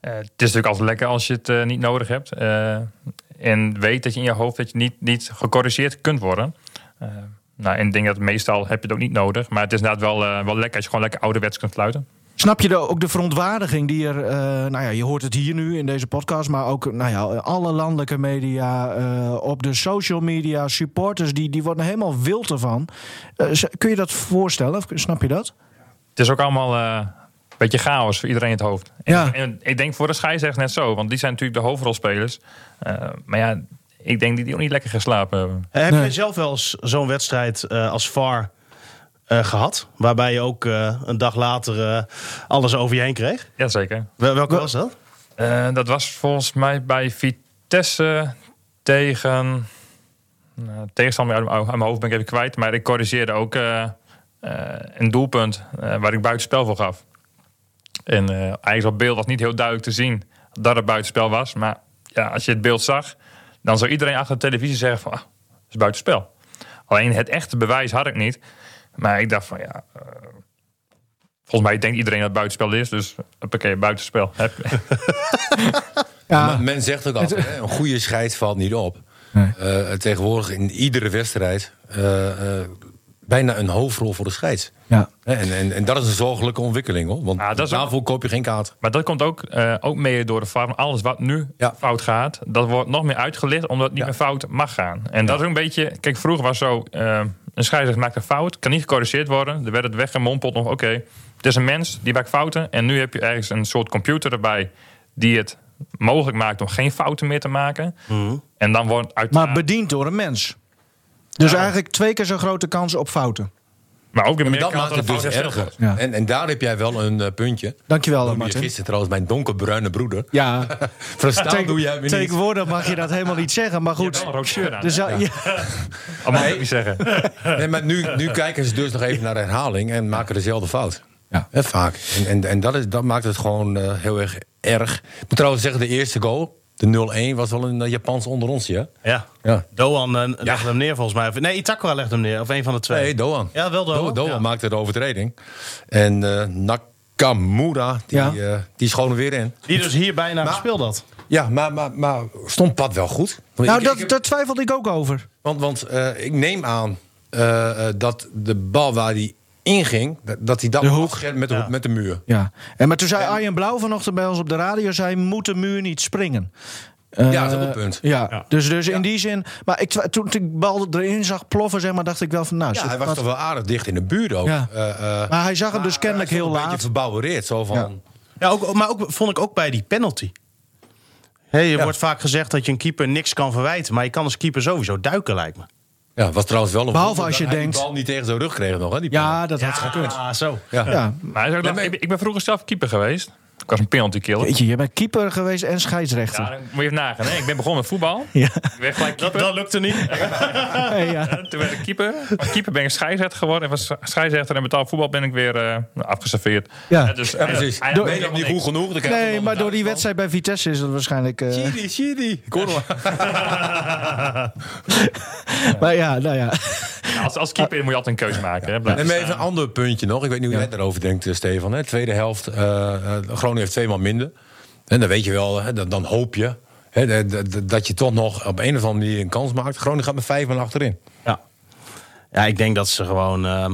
C: Eh, het is natuurlijk altijd lekker als je het eh, niet nodig hebt. Eh, en weet dat je in je hoofd dat je niet, niet gecorrigeerd kunt worden. Eh, nou, en ik denk dat meestal heb je het ook niet nodig. Maar het is inderdaad wel, eh, wel lekker als je gewoon lekker ouderwets kunt fluiten.
B: Snap je de, ook de verontwaardiging die er... eh, nou ja, je hoort het hier nu in deze podcast... maar ook nou ja, alle landelijke media, eh, op de social media... supporters, die, die worden er helemaal wild ervan. Eh, z- kun je dat voorstellen? Of Snap je dat?
C: Het is ook allemaal eh, een beetje chaos voor iedereen in het hoofd. En,
B: Ja.
C: en ik denk voor de scheidsrechter net zo. Want die zijn natuurlijk de hoofdrolspelers. Eh, maar ja, ik denk dat die ook niet lekker geslapen hebben.
E: Eh, heb jij zelf wel eens zo'n wedstrijd eh, als VAR eh, gehad? Waarbij je ook eh, een dag later eh, alles over je heen kreeg?
C: Jazeker.
E: Wel- Welke was dat?
C: Eh, dat was volgens mij bij Vitesse tegen. Nou, tegenstander uit mijn, uit mijn hoofd ben ik even kwijt. Maar ik corrigeerde ook eh, eh, een doelpunt eh, waar ik buitenspel voor gaf. En eh eigenlijk op beeld was niet heel duidelijk te zien dat het buitenspel was. Maar ja, als je het beeld zag, dan zou iedereen achter de televisie zeggen van... Ah, het is buitenspel. Alleen het echte bewijs had ik niet. Maar ik dacht van ja... eh, volgens mij denkt iedereen dat het buitenspel is. Dus oké, buitenspel. Heb-
D: Maar Men zegt ook altijd, hè, een goede scheids valt niet op. Eh, tegenwoordig in iedere wedstrijd eh, eh, bijna een hoofdrol voor de scheids.
B: Ja.
D: Hè, En, en, en dat is een zorgelijke ontwikkeling hoor. Want
C: Ah, dat is ook-
D: daarvoor koop je geen kaart.
C: Maar dat komt ook, eh, ook mee door de farm. Alles wat nu
D: Ja.
C: fout gaat, dat wordt nog meer uitgelicht omdat het niet meer fout mag gaan. En dat is ook een beetje. Kijk, vroeger was zo: eh, een scheidsrechter maakt een fout, kan niet gecorrigeerd worden. Er werd het weggemompeld nog: oké, het is een mens die maakt fouten. En nu heb je ergens een soort computer erbij die het mogelijk maakt om geen fouten meer te maken. En dan wordt uit.
B: Maar bediend door een mens. Dus eigenlijk twee keer zo'n grote kans op fouten.
C: maar ook in
D: Maar dat
C: Amerika
D: maakt
C: had
D: het
C: een
D: dus
C: fout
D: erger.
C: hersteld.
B: Ja.
D: En, en daar heb jij wel een eh, puntje.
B: Dankjewel,
D: Noemde je
B: Martin.
D: Gisteren trouwens mijn donkerbruine broeder.
B: Ja,
D: Verstaan doe jij me niet.
B: tegenwoordig mag je dat helemaal niet zeggen. Maar
C: Je hebt
B: goed,
C: wel een rood shirt aan,
B: dus,
C: hè?
B: ja, ja.
C: Dat mag ik niet zeggen.
D: Nee, maar nu, nu kijken ze dus nog even naar de herhaling en maken dezelfde fout.
B: Ja.
D: Hè, vaak. En, en, en dat, is, dat maakt het gewoon eh, heel erg erg. Ik moet trouwens zeggen, de eerste goal, de 0-1, was wel een eh, Japans onder ons, ja?
E: Ja.
D: Ja.
E: Doan eh, legde hem neer volgens mij. Of- Nee, Itakura legde hem neer. Of een van de twee.
D: Nee, Doan.
E: Ja, wel Doan.
D: Do- Doan
E: Ja.
D: maakte de overtreding. En eh, Nakamura, die,
B: Ja.
D: eh, die schoon er weer in.
E: Die dus hier bijna gespeeld had.
D: Ja, maar, maar, maar stond pad wel goed? Want
B: Nou,
D: ik- ik-
B: dat, daar twijfelde ik ook over.
D: Want, want eh, ik neem aan eh, eh, dat de bal waar hij inging, dat- dat hij dat afschermt met, de hoek- met de muur.
B: Ja. En, maar toen zei Arjen Blauw vanochtend bij ons op de radio... zei, moet de muur niet springen. Eh,
D: ja, dat is ook een punt.
B: Ja, dus, dus in die zin... Maar ik, twa- toen ik de bal erin zag ploffen, zeg maar, dacht ik wel van... Nou,
D: Ja,
B: zo-
D: hij was
B: wat-
D: toch wel aardig dicht in de buurt ook.
B: Ja.
D: Eh, eh,
B: maar hij zag hem dus
D: maar
B: kennelijk
D: hij
B: heel
D: stond Een beetje
B: laat.
D: verbouwereerd, zo van...
E: Ja, ook, maar ook, vond ik ook bij die penalty. Hey, er wordt vaak gezegd dat je een keeper niks kan verwijten. Maar je kan als keeper sowieso duiken, lijkt me.
D: Ja, was trouwens wel een
B: Behalve
D: wonder
B: als je
D: dat hij
B: denkt-
D: die bal niet tegen zijn rug kreeg nog, hè? Die
B: Ja, dat had gekund.
E: Ah, zo.
D: penalty. ja.
B: Ja.
C: Maar hij is ook
D: Nee,
C: nog-
D: maar-
C: ik ben- ik ben vroeger zelf keeper geweest. Ik was een penalty killer.
B: Weet je, je bent keeper geweest en
C: Ja,
B: scheidsrechter.
C: dan moet je even nagaan. Hè. Ik ben begonnen met voetbal.
B: Ja.
C: Ik werd gelijk
E: Dat,
C: keeper.
E: dat lukte niet.
B: Hey, ja.
C: Toen werd ik keeper. Van keeper ben ik scheidsrechter geworden. En van scheidsrechter en betaald voetbal ben ik weer eh, afgeserveerd.
B: Ja.
C: Eh, dus,
D: Ja, precies.
C: eh,
D: Door-
C: eh,
D: ben je nog niet goed genoeg? dan krijg je
B: Nee,
D: nog
B: maar
D: een
B: door die
D: duikbal.
B: wedstrijd bij Vitesse is dat waarschijnlijk... eh,
D: Chidi, Chidi. Ik hoor hem.
B: maar ja, nou ja.
C: Als, als keeper moet je altijd een keuze maken. Hè,
D: En even een ander puntje nog. Ik weet niet hoe jij daarover denkt, eh, Stefan. Hè? Tweede helft, eh, eh, Groningen heeft twee man minder. En dan weet je wel, hè, dan, dan hoop je hè, dat- dat- dat je toch nog op een of andere manier een kans maakt. Groningen gaat met vijf man achterin.
E: Ja. ja, ik denk dat ze gewoon ehm,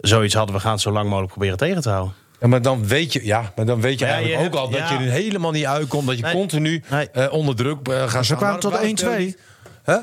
E: zoiets hadden. We gaan het zo lang mogelijk proberen tegen te houden.
D: Ja, maar dan weet je, ja, maar dan weet je
E: Ja, je
D: eigenlijk ook
E: hebt-
D: al dat
E: ja.
D: je er helemaal niet uitkomt. Dat je
E: Nee.
D: continu
E: Nee.
D: eh, onder druk eh, gaat
B: Ze
D: staan.
B: kwamen
D: Maar
B: tot
D: waarom speel je
B: 1-2.
D: niet? Hè?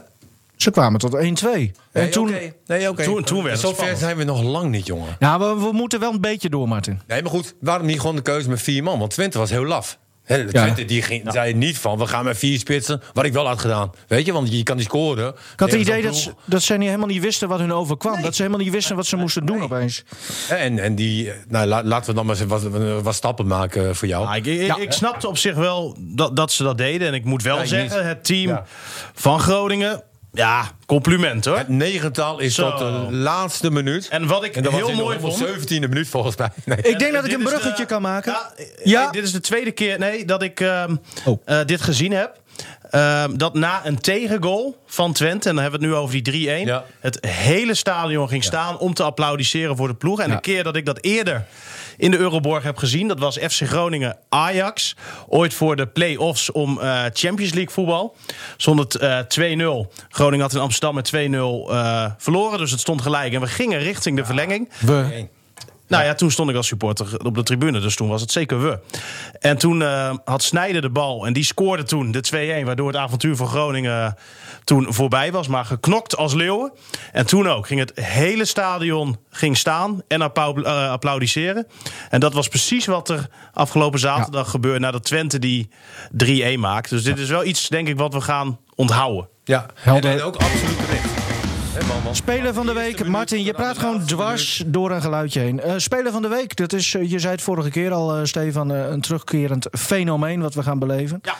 B: Ze kwamen tot 1-2. En
D: Nee,
B: toen...
D: oké. nee, oké.
E: Toen- toen werd het
D: Zo ver
E: spannend.
D: zijn we nog lang niet, jongen.
B: Nou, we, we moeten wel een beetje door, Martin.
D: Nee, maar goed, waarom niet gewoon de keuze met vier man? Want Twente was heel laf. Hè, Hè, de Twente die ging, zei niet van, we gaan met vier spitsen. Wat ik wel had gedaan. Weet je, want je kan niet scoren.
B: Ik had het idee dat, ze- dat zij niet- helemaal niet wisten wat hun overkwam. Dat ze helemaal niet wisten wat ze moesten doen opeens.
D: En, en die, nou, la- laten we dan maar eens wat, wat stappen maken eh, voor jou.
E: Ja, ik, ik, ik snapte op zich wel dat, dat ze dat deden. En ik moet wel
D: Ja,
E: zeggen,
D: jezus.
E: het team
D: Ja.
E: van Groningen... Ja, compliment hoor.
D: Het negental is
E: Zo.
D: tot de laatste minuut.
E: En wat ik
D: En dat was
E: heel
D: in
E: mooi
D: de
E: vond...
D: 17e minuut volgens mij. Nee.
B: Ik denk dat ik
E: Dit
B: een
E: is de-
B: bruggetje kan maken.
E: Ja,
B: Ja.
E: eh, Dit is de tweede keer nee, dat ik ehm,
B: Oh.
E: eh, dit gezien heb. Ehm, dat na een tegengoal van Twente, en dan hebben we het nu over die 3-1...
D: Ja.
E: het hele stadion ging staan om te applaudisseren voor de ploeg. En
B: Ja.
E: een keer dat ik dat eerder in de Euroborg heb gezien... dat was FC Groningen-Ajax. Ooit voor de play-offs om eh, Champions League voetbal. Stond het eh, 2-0. Groningen had in Amsterdam met 2-0 eh, verloren, dus het stond gelijk. En we gingen richting de verlenging.
B: We.
E: Nou ja, toen stond ik als supporter op de tribune, dus toen was het zeker we. En toen eh, had Snijder de bal en die scoorde toen de 2-1, waardoor het avontuur voor Groningen toen voorbij was, maar geknokt als leeuwen. En toen ook ging het hele stadion ging staan en appau- eh, applaudisseren. En dat was precies wat er afgelopen zaterdag gebeurde nadat Twente die 3-1 maakte. Dus dit is wel iets, denk ik, wat we gaan onthouden.
D: Ja,
B: Helder.
D: En, en ook absoluut terecht. Hè, man, want-
B: Speler van de week, Martin, je praat gewoon dwars door een geluidje heen. Eh, speler van de week, dat is, eh, je zei het vorige keer al, eh, Stefan, eh, een terugkerend fenomeen wat we gaan beleven.
E: Ja.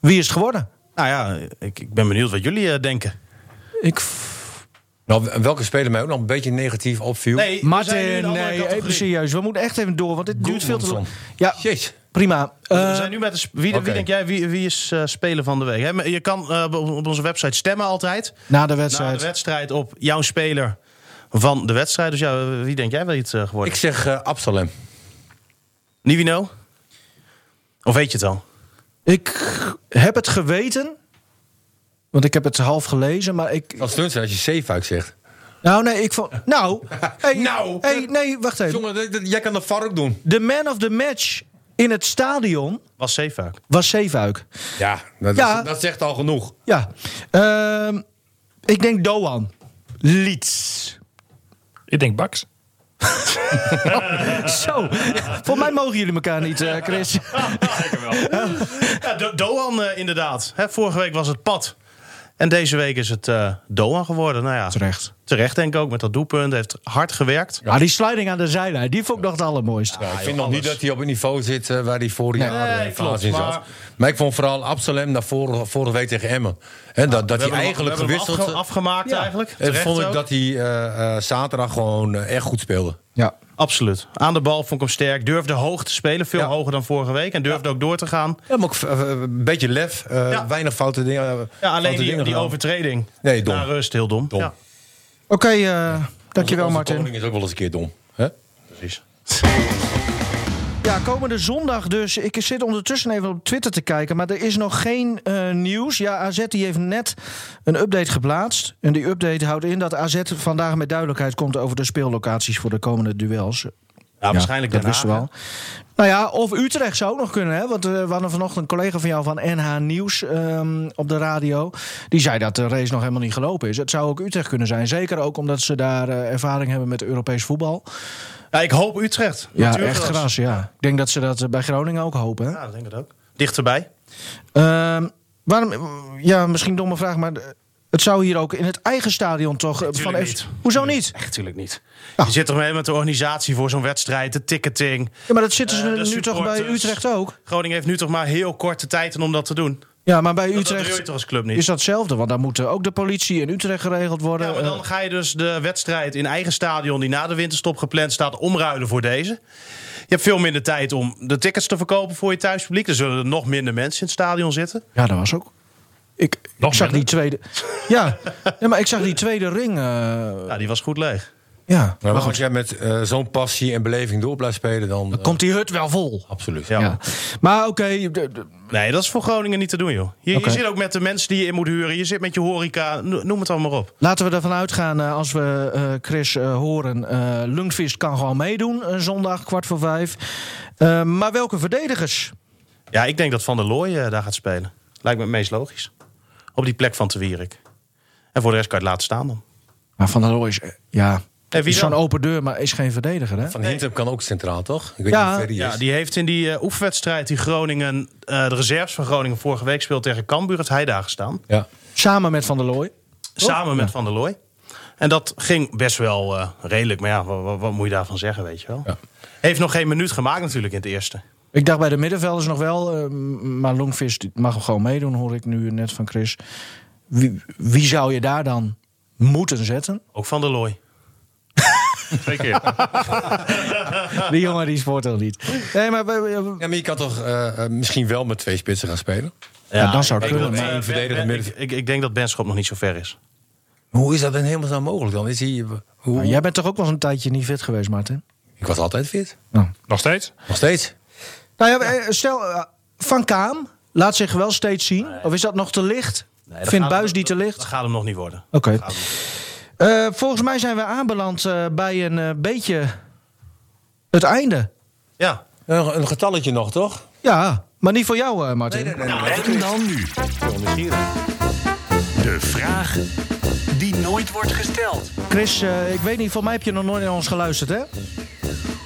B: Wie is het geworden?
E: Nou ja, ik, ik ben benieuwd wat jullie eh, denken.
B: Ik
D: Nou, welke speler mij ook nog een beetje negatief opviel.
E: Nee,
B: Martin,
E: we zijn nu in een andere
B: nee, eh, even
E: categorie.
B: serieus. We moeten echt even door, want dit duurt veel te lang. Ja,
D: Jeez.
B: prima.
E: we
B: Eh,
E: zijn nu met de, sp- wie,
D: Oké.
E: wie denk jij, wie, wie is eh, speler van de week? Hè, maar Je kan eh, op- op onze website stemmen altijd.
B: na de
E: Na
B: wedstrijd.
E: de wedstrijd op jouw speler van de wedstrijd. Dus ja, wie denk jij wel iets eh, geworden?
D: Ik zeg eh, Absalem.
E: Nivino? Of weet je het al?
B: Ik heb het geweten, want ik heb het half gelezen, maar ik...
D: Als stunt als je Zeefuik zegt.
B: Nou, nee, ik vond... Nou! Hey,
D: Nou.
B: Hey, nee, wacht even.
D: Jongen, dat- dat- jij kan de VAR ook doen.
B: De man of the match in het stadion
E: Was Zeefuik.
B: was Zeefuik.
D: Ja, dat,
B: Ja.
D: dat zegt al genoeg.
B: Ja. Ehm, ik denk Doan. Leeds.
C: Ik denk Baks.
B: Zo. Voor mij mogen jullie elkaar niet, eh, Chris.
E: Ja, Do- Doan eh, inderdaad. Hè, vorige week was het pad. En deze week is het eh, Doan geworden. Nou ja,
B: Terecht.
E: terecht denk ik ook met dat doelpunt. Heeft hard gewerkt.
B: Ja, Ah, die sliding aan de zijlijn, die vond ik nog het allermooiste.
D: ik vind nog niet dat hij op een niveau zit eh, waar hij vorig jaar
E: Nee,
D: eh,
E: klopt,
D: fase in zat.
E: maar-
D: Maar... ik vond vooral Absalem naar vorige, vorige week tegen Emmen. Hè, dat dat
E: We
D: hij
E: hebben hem-
D: eigenlijk
E: we hebben hem
D: gewisseld...
E: afge- afgemaakt eigenlijk.
D: En
E: Terecht
D: vond ik
E: ook.
D: dat hij eh, eh, zaterdag gewoon eh, echt goed speelde.
B: Ja.
E: Absoluut. Aan de bal vond ik hem sterk. Durfde hoog te spelen, veel
D: Ja.
E: hoger dan vorige week. En durfde ook door te gaan.
D: Ja, maar ook eh, een beetje lef. eh,
E: Ja.
D: Weinig foute dingen.
E: Ja, alleen
D: foute
E: die,
D: dingen
E: die
D: gedaan.
E: overtreding.
D: Nee, dom.
E: Na rust, heel dom.
D: Dom.
E: Ja,
B: Oké, eh, dankjewel
D: Onze
B: Martin.
D: koning is ook wel eens een keer dom. Hè?
E: precies.
B: Ja, komende zondag dus. Ik zit ondertussen even op Twitter te kijken, maar er is nog geen eh, nieuws. Ja, AZ die heeft net een update geplaatst. En die update houdt in dat AZ vandaag met duidelijkheid komt over de speellocaties voor de komende duels. Ah,
E: Ja, waarschijnlijk
B: dat
E: Den
B: wisten we
E: Haag,
B: wel. Nou ja, of Utrecht zou ook nog kunnen. Hè? Want eh, we hadden vanochtend een collega van jou van NH Nieuws ehm, op de radio. Die zei dat de race nog helemaal niet gelopen is. Het zou ook Utrecht kunnen zijn. Zeker ook omdat ze daar eh, ervaring hebben met Europees voetbal.
E: Ja, ik hoop Utrecht.
B: Ja,
E: Natuurgras.
B: echt gras, ja. Ik denk dat ze dat eh, bij Groningen ook hopen. Hè?
E: Ja, ik denk het ook. Dichterbij.
B: Ehm, waarom, ja, misschien domme vraag, maar eh, het zou hier ook in het eigen stadion toch... eh,
E: tuurlijk
B: van F-
E: niet.
B: Hoezo niet?
E: Echt, natuurlijk niet.
B: Ja.
E: Je zit toch mee met de organisatie voor zo'n wedstrijd, de ticketing.
B: Ja, maar dat zitten ze
E: Eh, de
B: nu toch bij
E: supporters.
B: Utrecht ook?
E: Groningen heeft nu toch maar heel korte tijd om dat te doen.
B: Ja, maar bij
E: Dat- Dat doe je
B: Utrecht
E: toch als club niet.
B: is dat hetzelfde. Want daar moeten ook de politie in Utrecht geregeld worden.
E: Ja, maar
B: Eh,
E: dan ga je dus de wedstrijd in eigen stadion die na de winterstop gepland staat omruilen voor deze. Je hebt veel minder tijd om de tickets te verkopen voor je thuispubliek. Er zullen er nog minder mensen in het stadion zitten.
B: Ja, dat was ook. Ik, ik zag die tweede. Ja, nee, maar ik zag die tweede ring. eh,
E: Ja, die was goed leeg.
B: ja,
D: Nou,
B: maar
D: als
B: goed.
D: jij met eh, zo'n passie en beleving door blijft spelen, dan... eh,
B: Komt die hut wel vol?
D: Absoluut.
E: Ja.
B: Ja. Maar oké, de- de-
E: Nee, dat is voor Groningen niet te doen, joh. Je,
B: Oké.
E: je zit ook met de mensen die je in moet huren. Je zit met je horeca. no- Noem het allemaal maar op.
B: laten we ervan uitgaan eh, als we eh, Chris eh, horen. eh Lundqvist kan gewoon meedoen eh, zondag kwart voor vijf. Eh, maar welke verdedigers?
E: Ja, ik denk dat Van der Looy eh, daar gaat spelen. Lijkt me het meest logisch. Op die plek van Te Wierik. En voor de rest kan je het laten staan dan.
B: Maar Van der Looy is, eh, ja,
E: En wie
B: Zo'n
E: dan?
B: open deur, maar is geen verdediger, hè?
D: Van Hintem kan ook centraal, toch? Ik weet
B: Ja.
D: niet hoe ver die
E: Ja,
D: is.
E: die heeft in die eh, oefenwedstrijd die Groningen, eh, de reserves van Groningen vorige week speelt tegen Cambuur, heeft hij daar
B: Oh,
E: gestaan.
D: Ja.
B: Samen met Van der Looy.
E: Samen met Van der Looy. En dat ging best wel eh, redelijk. Maar ja, wa- wa- wat, moet je daarvan zeggen, weet je wel?
D: Ja.
E: Heeft nog geen minuut gemaakt natuurlijk in het eerste.
B: Ik dacht bij de middenvelders nog wel, eh, maar Longfish die mag gewoon meedoen, hoor ik nu net van Chris. Wie, wie zou je daar dan moeten zetten?
E: Ook Van der Looy.
C: Twee keer.
B: Die jongen die sport al niet. Nee, maar we- we- we-
D: ja, maar je kan toch eh, eh, misschien wel met twee spitsen gaan spelen?
B: Ja, dan zou het
E: ik
B: kunnen,
E: denk dat,
D: maar-
E: eh,
D: verdediger
E: Ben- Ben- ik,
D: middenveld.
E: ik, ik denk dat Benschop nog niet zo ver is.
D: Hoe is dat in hemelsnaam mogelijk dan? Is hij, hoe...
B: nou, jij bent toch ook wel eens een tijdje niet fit geweest, Martin?
D: Ik was altijd fit.
C: Nog steeds?
D: Nog steeds.
B: Nou ja, eh, stel, eh, Van Kaam laat zich wel steeds zien. Of is dat nog te licht? Vindt Buis die te
E: Dat
B: licht? Oh.
E: gaat hem nog niet worden.
B: Oké. Eh, volgens mij zijn we aanbeland eh, bij een eh, beetje het einde.
E: Ja,
D: Een, een getalletje nog, toch?
B: Ja, maar niet voor jou, eh, Martin.
A: En dan nu. De vraag die nooit wordt gesteld.
B: Chris, eh, ik weet niet, voor mij heb je nog nooit naar ons geluisterd, hè?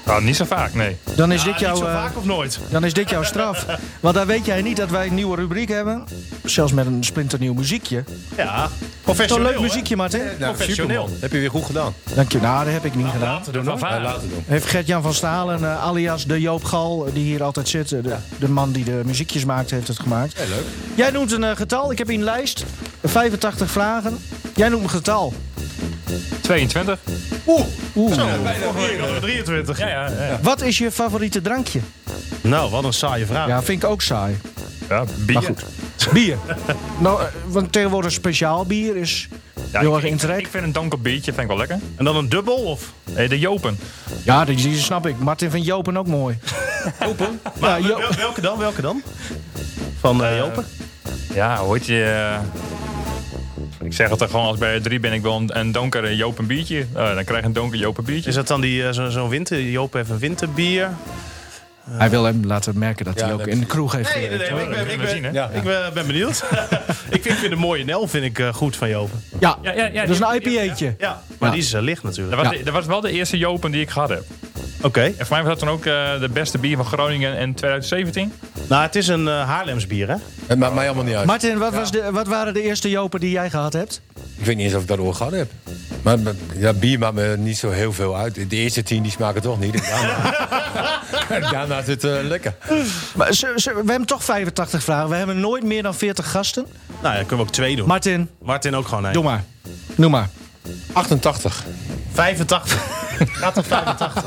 C: Nou, niet zo vaak, nee.
B: Dan is,
E: Ja,
B: dit, jouw,
E: niet zo
B: eh,
E: vaak of nooit.
B: dan is dit jouw straf. Want dan weet jij niet dat wij een nieuwe rubriek hebben. Zelfs met een splinternieuw muziekje.
E: Ja,
B: Zo'n
E: professioneel.
B: leuk muziekje, Martin.
E: Professioneel.
D: superman. Heb je weer goed gedaan.
B: Dank je. Nou, dat heb ik niet gedaan.
C: Van Vaak.
B: Heeft Gert-Jan van Stalen, eh, alias de Joop Gal, eh, die hier altijd zit. eh, De, de man die de muziekjes maakt, heeft het gemaakt.
D: leuk.
B: Jij noemt een eh, getal. Ik heb hier een lijst. 85 vragen. Jij noemt een getal.
C: 22.
E: Hier, nummer 23.
C: Ja, ja, ja.
B: Wat is je favoriete drankje?
E: Nou, wat een saaie vraag.
B: Ja, vind ik ook saai.
C: ja bier.
B: goed. Bier. nou, eh, want tegenwoordig speciaal bier is
C: Ja,
B: heel
C: ik-
B: erg in
C: ik, ik vind een donker biertje vind ik wel lekker.
E: En dan een dubbel? Of?
C: Eh, de Jopen.
B: Ja, die, die snap ik. Martin vindt Jopen ook mooi.
E: Maar
B: Ja, Jo-
E: wel- welke dan? Welke dan? Van eh, Jopen?
C: Ja, hoe heet je... eh, ik zeg het er gewoon als bij drie ben ik wel een, een donker Jopen biertje. Eh, dan krijg je een donker Jopen biertje.
E: Is dat dan die, eh, zo- zo'n winter? Jopen heeft een winterbier.
B: Hij wil hem laten merken dat hij
D: Ja,
B: ook
D: dat-
B: in de kroeg heeft
E: Nee, nee, nee, maar ik ben, ik
C: we
E: ben,
C: zien, hè?
D: Ja.
E: ik ben, ben benieuwd. ik, vind, ik vind de mooie Nel vind ik, eh, goed van Jopen.
B: Ja,
C: Ja, ja, ja,
B: dat is een
C: die-
B: IPA'tje.
E: Ja, maar
B: Ja.
E: die is eh, licht natuurlijk.
C: Dat was,
B: Ja.
C: de- dat was wel de eerste Jopen die ik gehad heb.
E: Oké.
C: En voor mij was dat dan ook eh, de beste bier van Groningen in 2017.
E: Nou, het is een eh Haarlems bier, hè?
D: Het maakt mij allemaal niet uit.
B: Martin, wat, was de, wat waren de eerste Jopen die jij gehad hebt?
D: Ik weet niet eens of ik dat ooit gehad heb. Maar maar- ja, bier maakt me niet zo heel veel uit. De eerste tien die smaken toch niet. En Daarna, daarna zit het eh, lekker.
B: Maar ze- ze- we hebben toch 85 vragen. We hebben nooit meer dan 40 gasten.
E: Nou, ja, kunnen we ook twee doen.
B: Martin,
E: Martin ook gewoon, hè?
B: doe maar. Noem maar.
D: 88.
E: 85. Gaat er 85.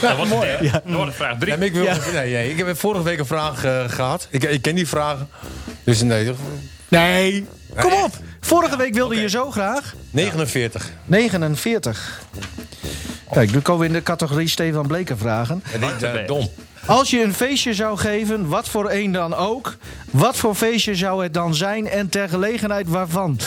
C: Dat was mooi, ja. Dat wordt vraag drie.
D: Nee, maar ik, wil, nee, nee, ik heb vorige week een vraag eh, gehad. Ik, ik ken die vragen. Dus nee, toch?
B: Nee. Kom op. Vorige week wilde je zo graag.
D: 49.
B: 49. Kijk, nu komen we in de categorie Stefan Bleken vragen.
D: En ik, eh, dom.
B: Als je een feestje zou geven, wat voor een dan ook... wat voor feestje zou het dan zijn en ter gelegenheid waarvan?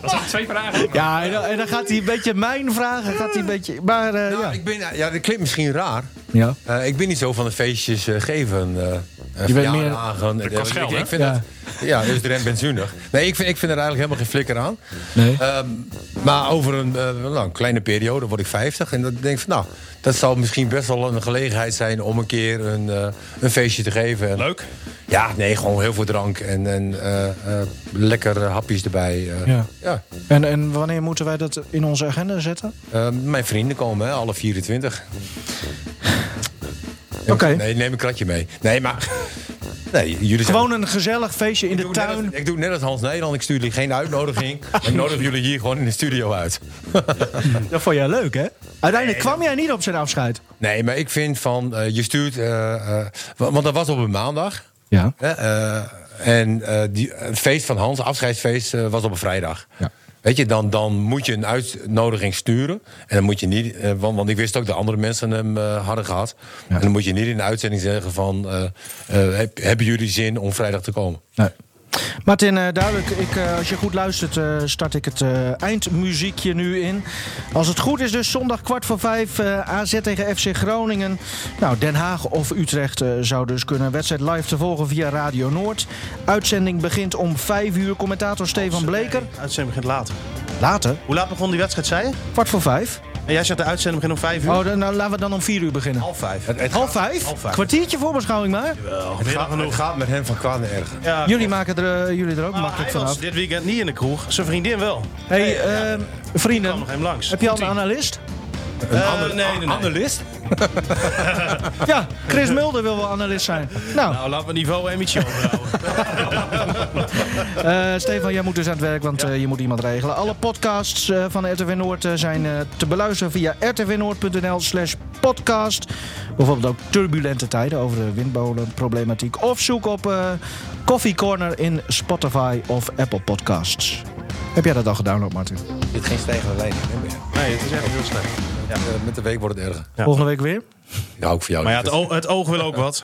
C: Dat zijn twee vragen.
B: Ja, en dan, en dan gaat hij een beetje mijn vragen. Gaat hij een beetje, maar eh,
D: Nou,
B: ja.
D: ik ben, ja, dat klinkt misschien raar.
B: ja.
D: Eh, ik ben niet zo van de feestjes eh, geven. eh, eh
B: Je bent
D: verjaardagen, eh,
C: kost
D: ik-
C: geld,
D: ik,
C: hè?
D: ik vind
B: Ja.
D: dat, ja, dus de rem benzunig. Nee, ik vind, ik vind er eigenlijk helemaal geen flikker aan.
B: Nee.
D: Ehm, maar over een, eh, nou, een kleine periode word ik 50. En dan denk ik van, nou, dat zou misschien best wel een gelegenheid zijn om een keer een, eh, een feestje te geven. En-
E: Leuk.
D: Ja, nee, gewoon heel veel drank en, en eh, eh, lekkere hapjes erbij. eh.
B: Ja.
D: Ja.
B: En, en wanneer moeten wij dat in onze agenda zetten?
D: Eh, mijn vrienden komen, hè, alle 24.
B: Oké.
D: Nee, neem een kratje mee. Nee, maar. Nee, jullie zijn-
B: Gewoon een gezellig feestje in de
D: Ik doe net
B: tuin.
D: als- ik doe net als Hans Nederland. Ik stuur jullie geen uitnodiging. ik nodig jullie hier gewoon in de studio uit.
B: Dat vond jij leuk, hè? Uiteindelijk kwam jij niet op zijn afscheid.
D: Nee, maar ik vind van eh, je stuurt. eh, eh, wa- want dat was op een maandag.
B: Ja.
D: Hè, eh, en eh, die, het feest van Hans, afscheidsfeest, eh, was op een vrijdag.
B: Ja.
D: Weet je, dan, dan moet je een uitnodiging sturen. En dan moet je niet, eh, want, want ik wist ook dat andere mensen hem eh, hadden gehad. En dan moet je niet in de uitzending zeggen van... eh, eh, heb- hebben jullie zin om vrijdag te komen?
B: Nee. Martin, eh, duidelijk, ik, eh, als je goed luistert, eh, start ik het eh, eindmuziekje nu in. Als het goed is, dus zondag kwart voor vijf, eh, AZ tegen FC Groningen. Nou, Den Haag of Utrecht eh, zou dus kunnen. Wedstrijd live te volgen via Radio Noord. Uitzending begint om vijf uur. Commentator Stefan Bleker.
E: Uitzending begint later.
B: Later?
E: Hoe laat begon die wedstrijd, zei je?
B: Kwart voor vijf.
E: En jij zegt de uitzending begint om vijf uur.
B: Oh, dan, nou, laten we dan om vier uur beginnen.
E: half vijf.
D: Het, het
B: Half
D: gaat,
B: vijf?
E: half vijf.
B: Kwartiertje voorbeschouwing maar.
D: het, gaat, het gaat met hem van kwaad naar erger.
E: Ja,
B: Jullie maken er, eh, jullie er ook
E: maar
B: makkelijk
E: hij
B: vanaf.
E: was dit weekend niet in de kroeg. Zijn vriendin wel.
B: hey, ehm,
E: Kwam
B: vrienden.
E: nog hem langs.
B: Heb je al een analist?
E: Eh, nee, nee, nee.
D: Analist?
B: Ja, Chris Mulder wil wel analist zijn. Nou,
E: Nou, laten we niveau Emmytje overhouden.
B: eh, Stefan, jij moet dus aan het werk, want eh, je moet iemand regelen. Alle podcasts eh, van RTV Noord eh, zijn eh, te beluisteren via rtvnoord.nl slash podcast. Bijvoorbeeld ook turbulente tijden over de windmolenproblematiek. Of zoek op eh Coffee Corner in Spotify of Apple Podcasts. Heb jij dat al gedownload, Martin?
D: Dit geen stijgende lijn hè, meer.
E: Nee, het is echt heel slecht.
D: Eh, Met de week wordt het erger.
B: Volgende week weer?
D: Ja, ook voor jou.
E: Maar ja,
D: Dit
E: het,
D: is-
E: oog- het oog wil ook wat.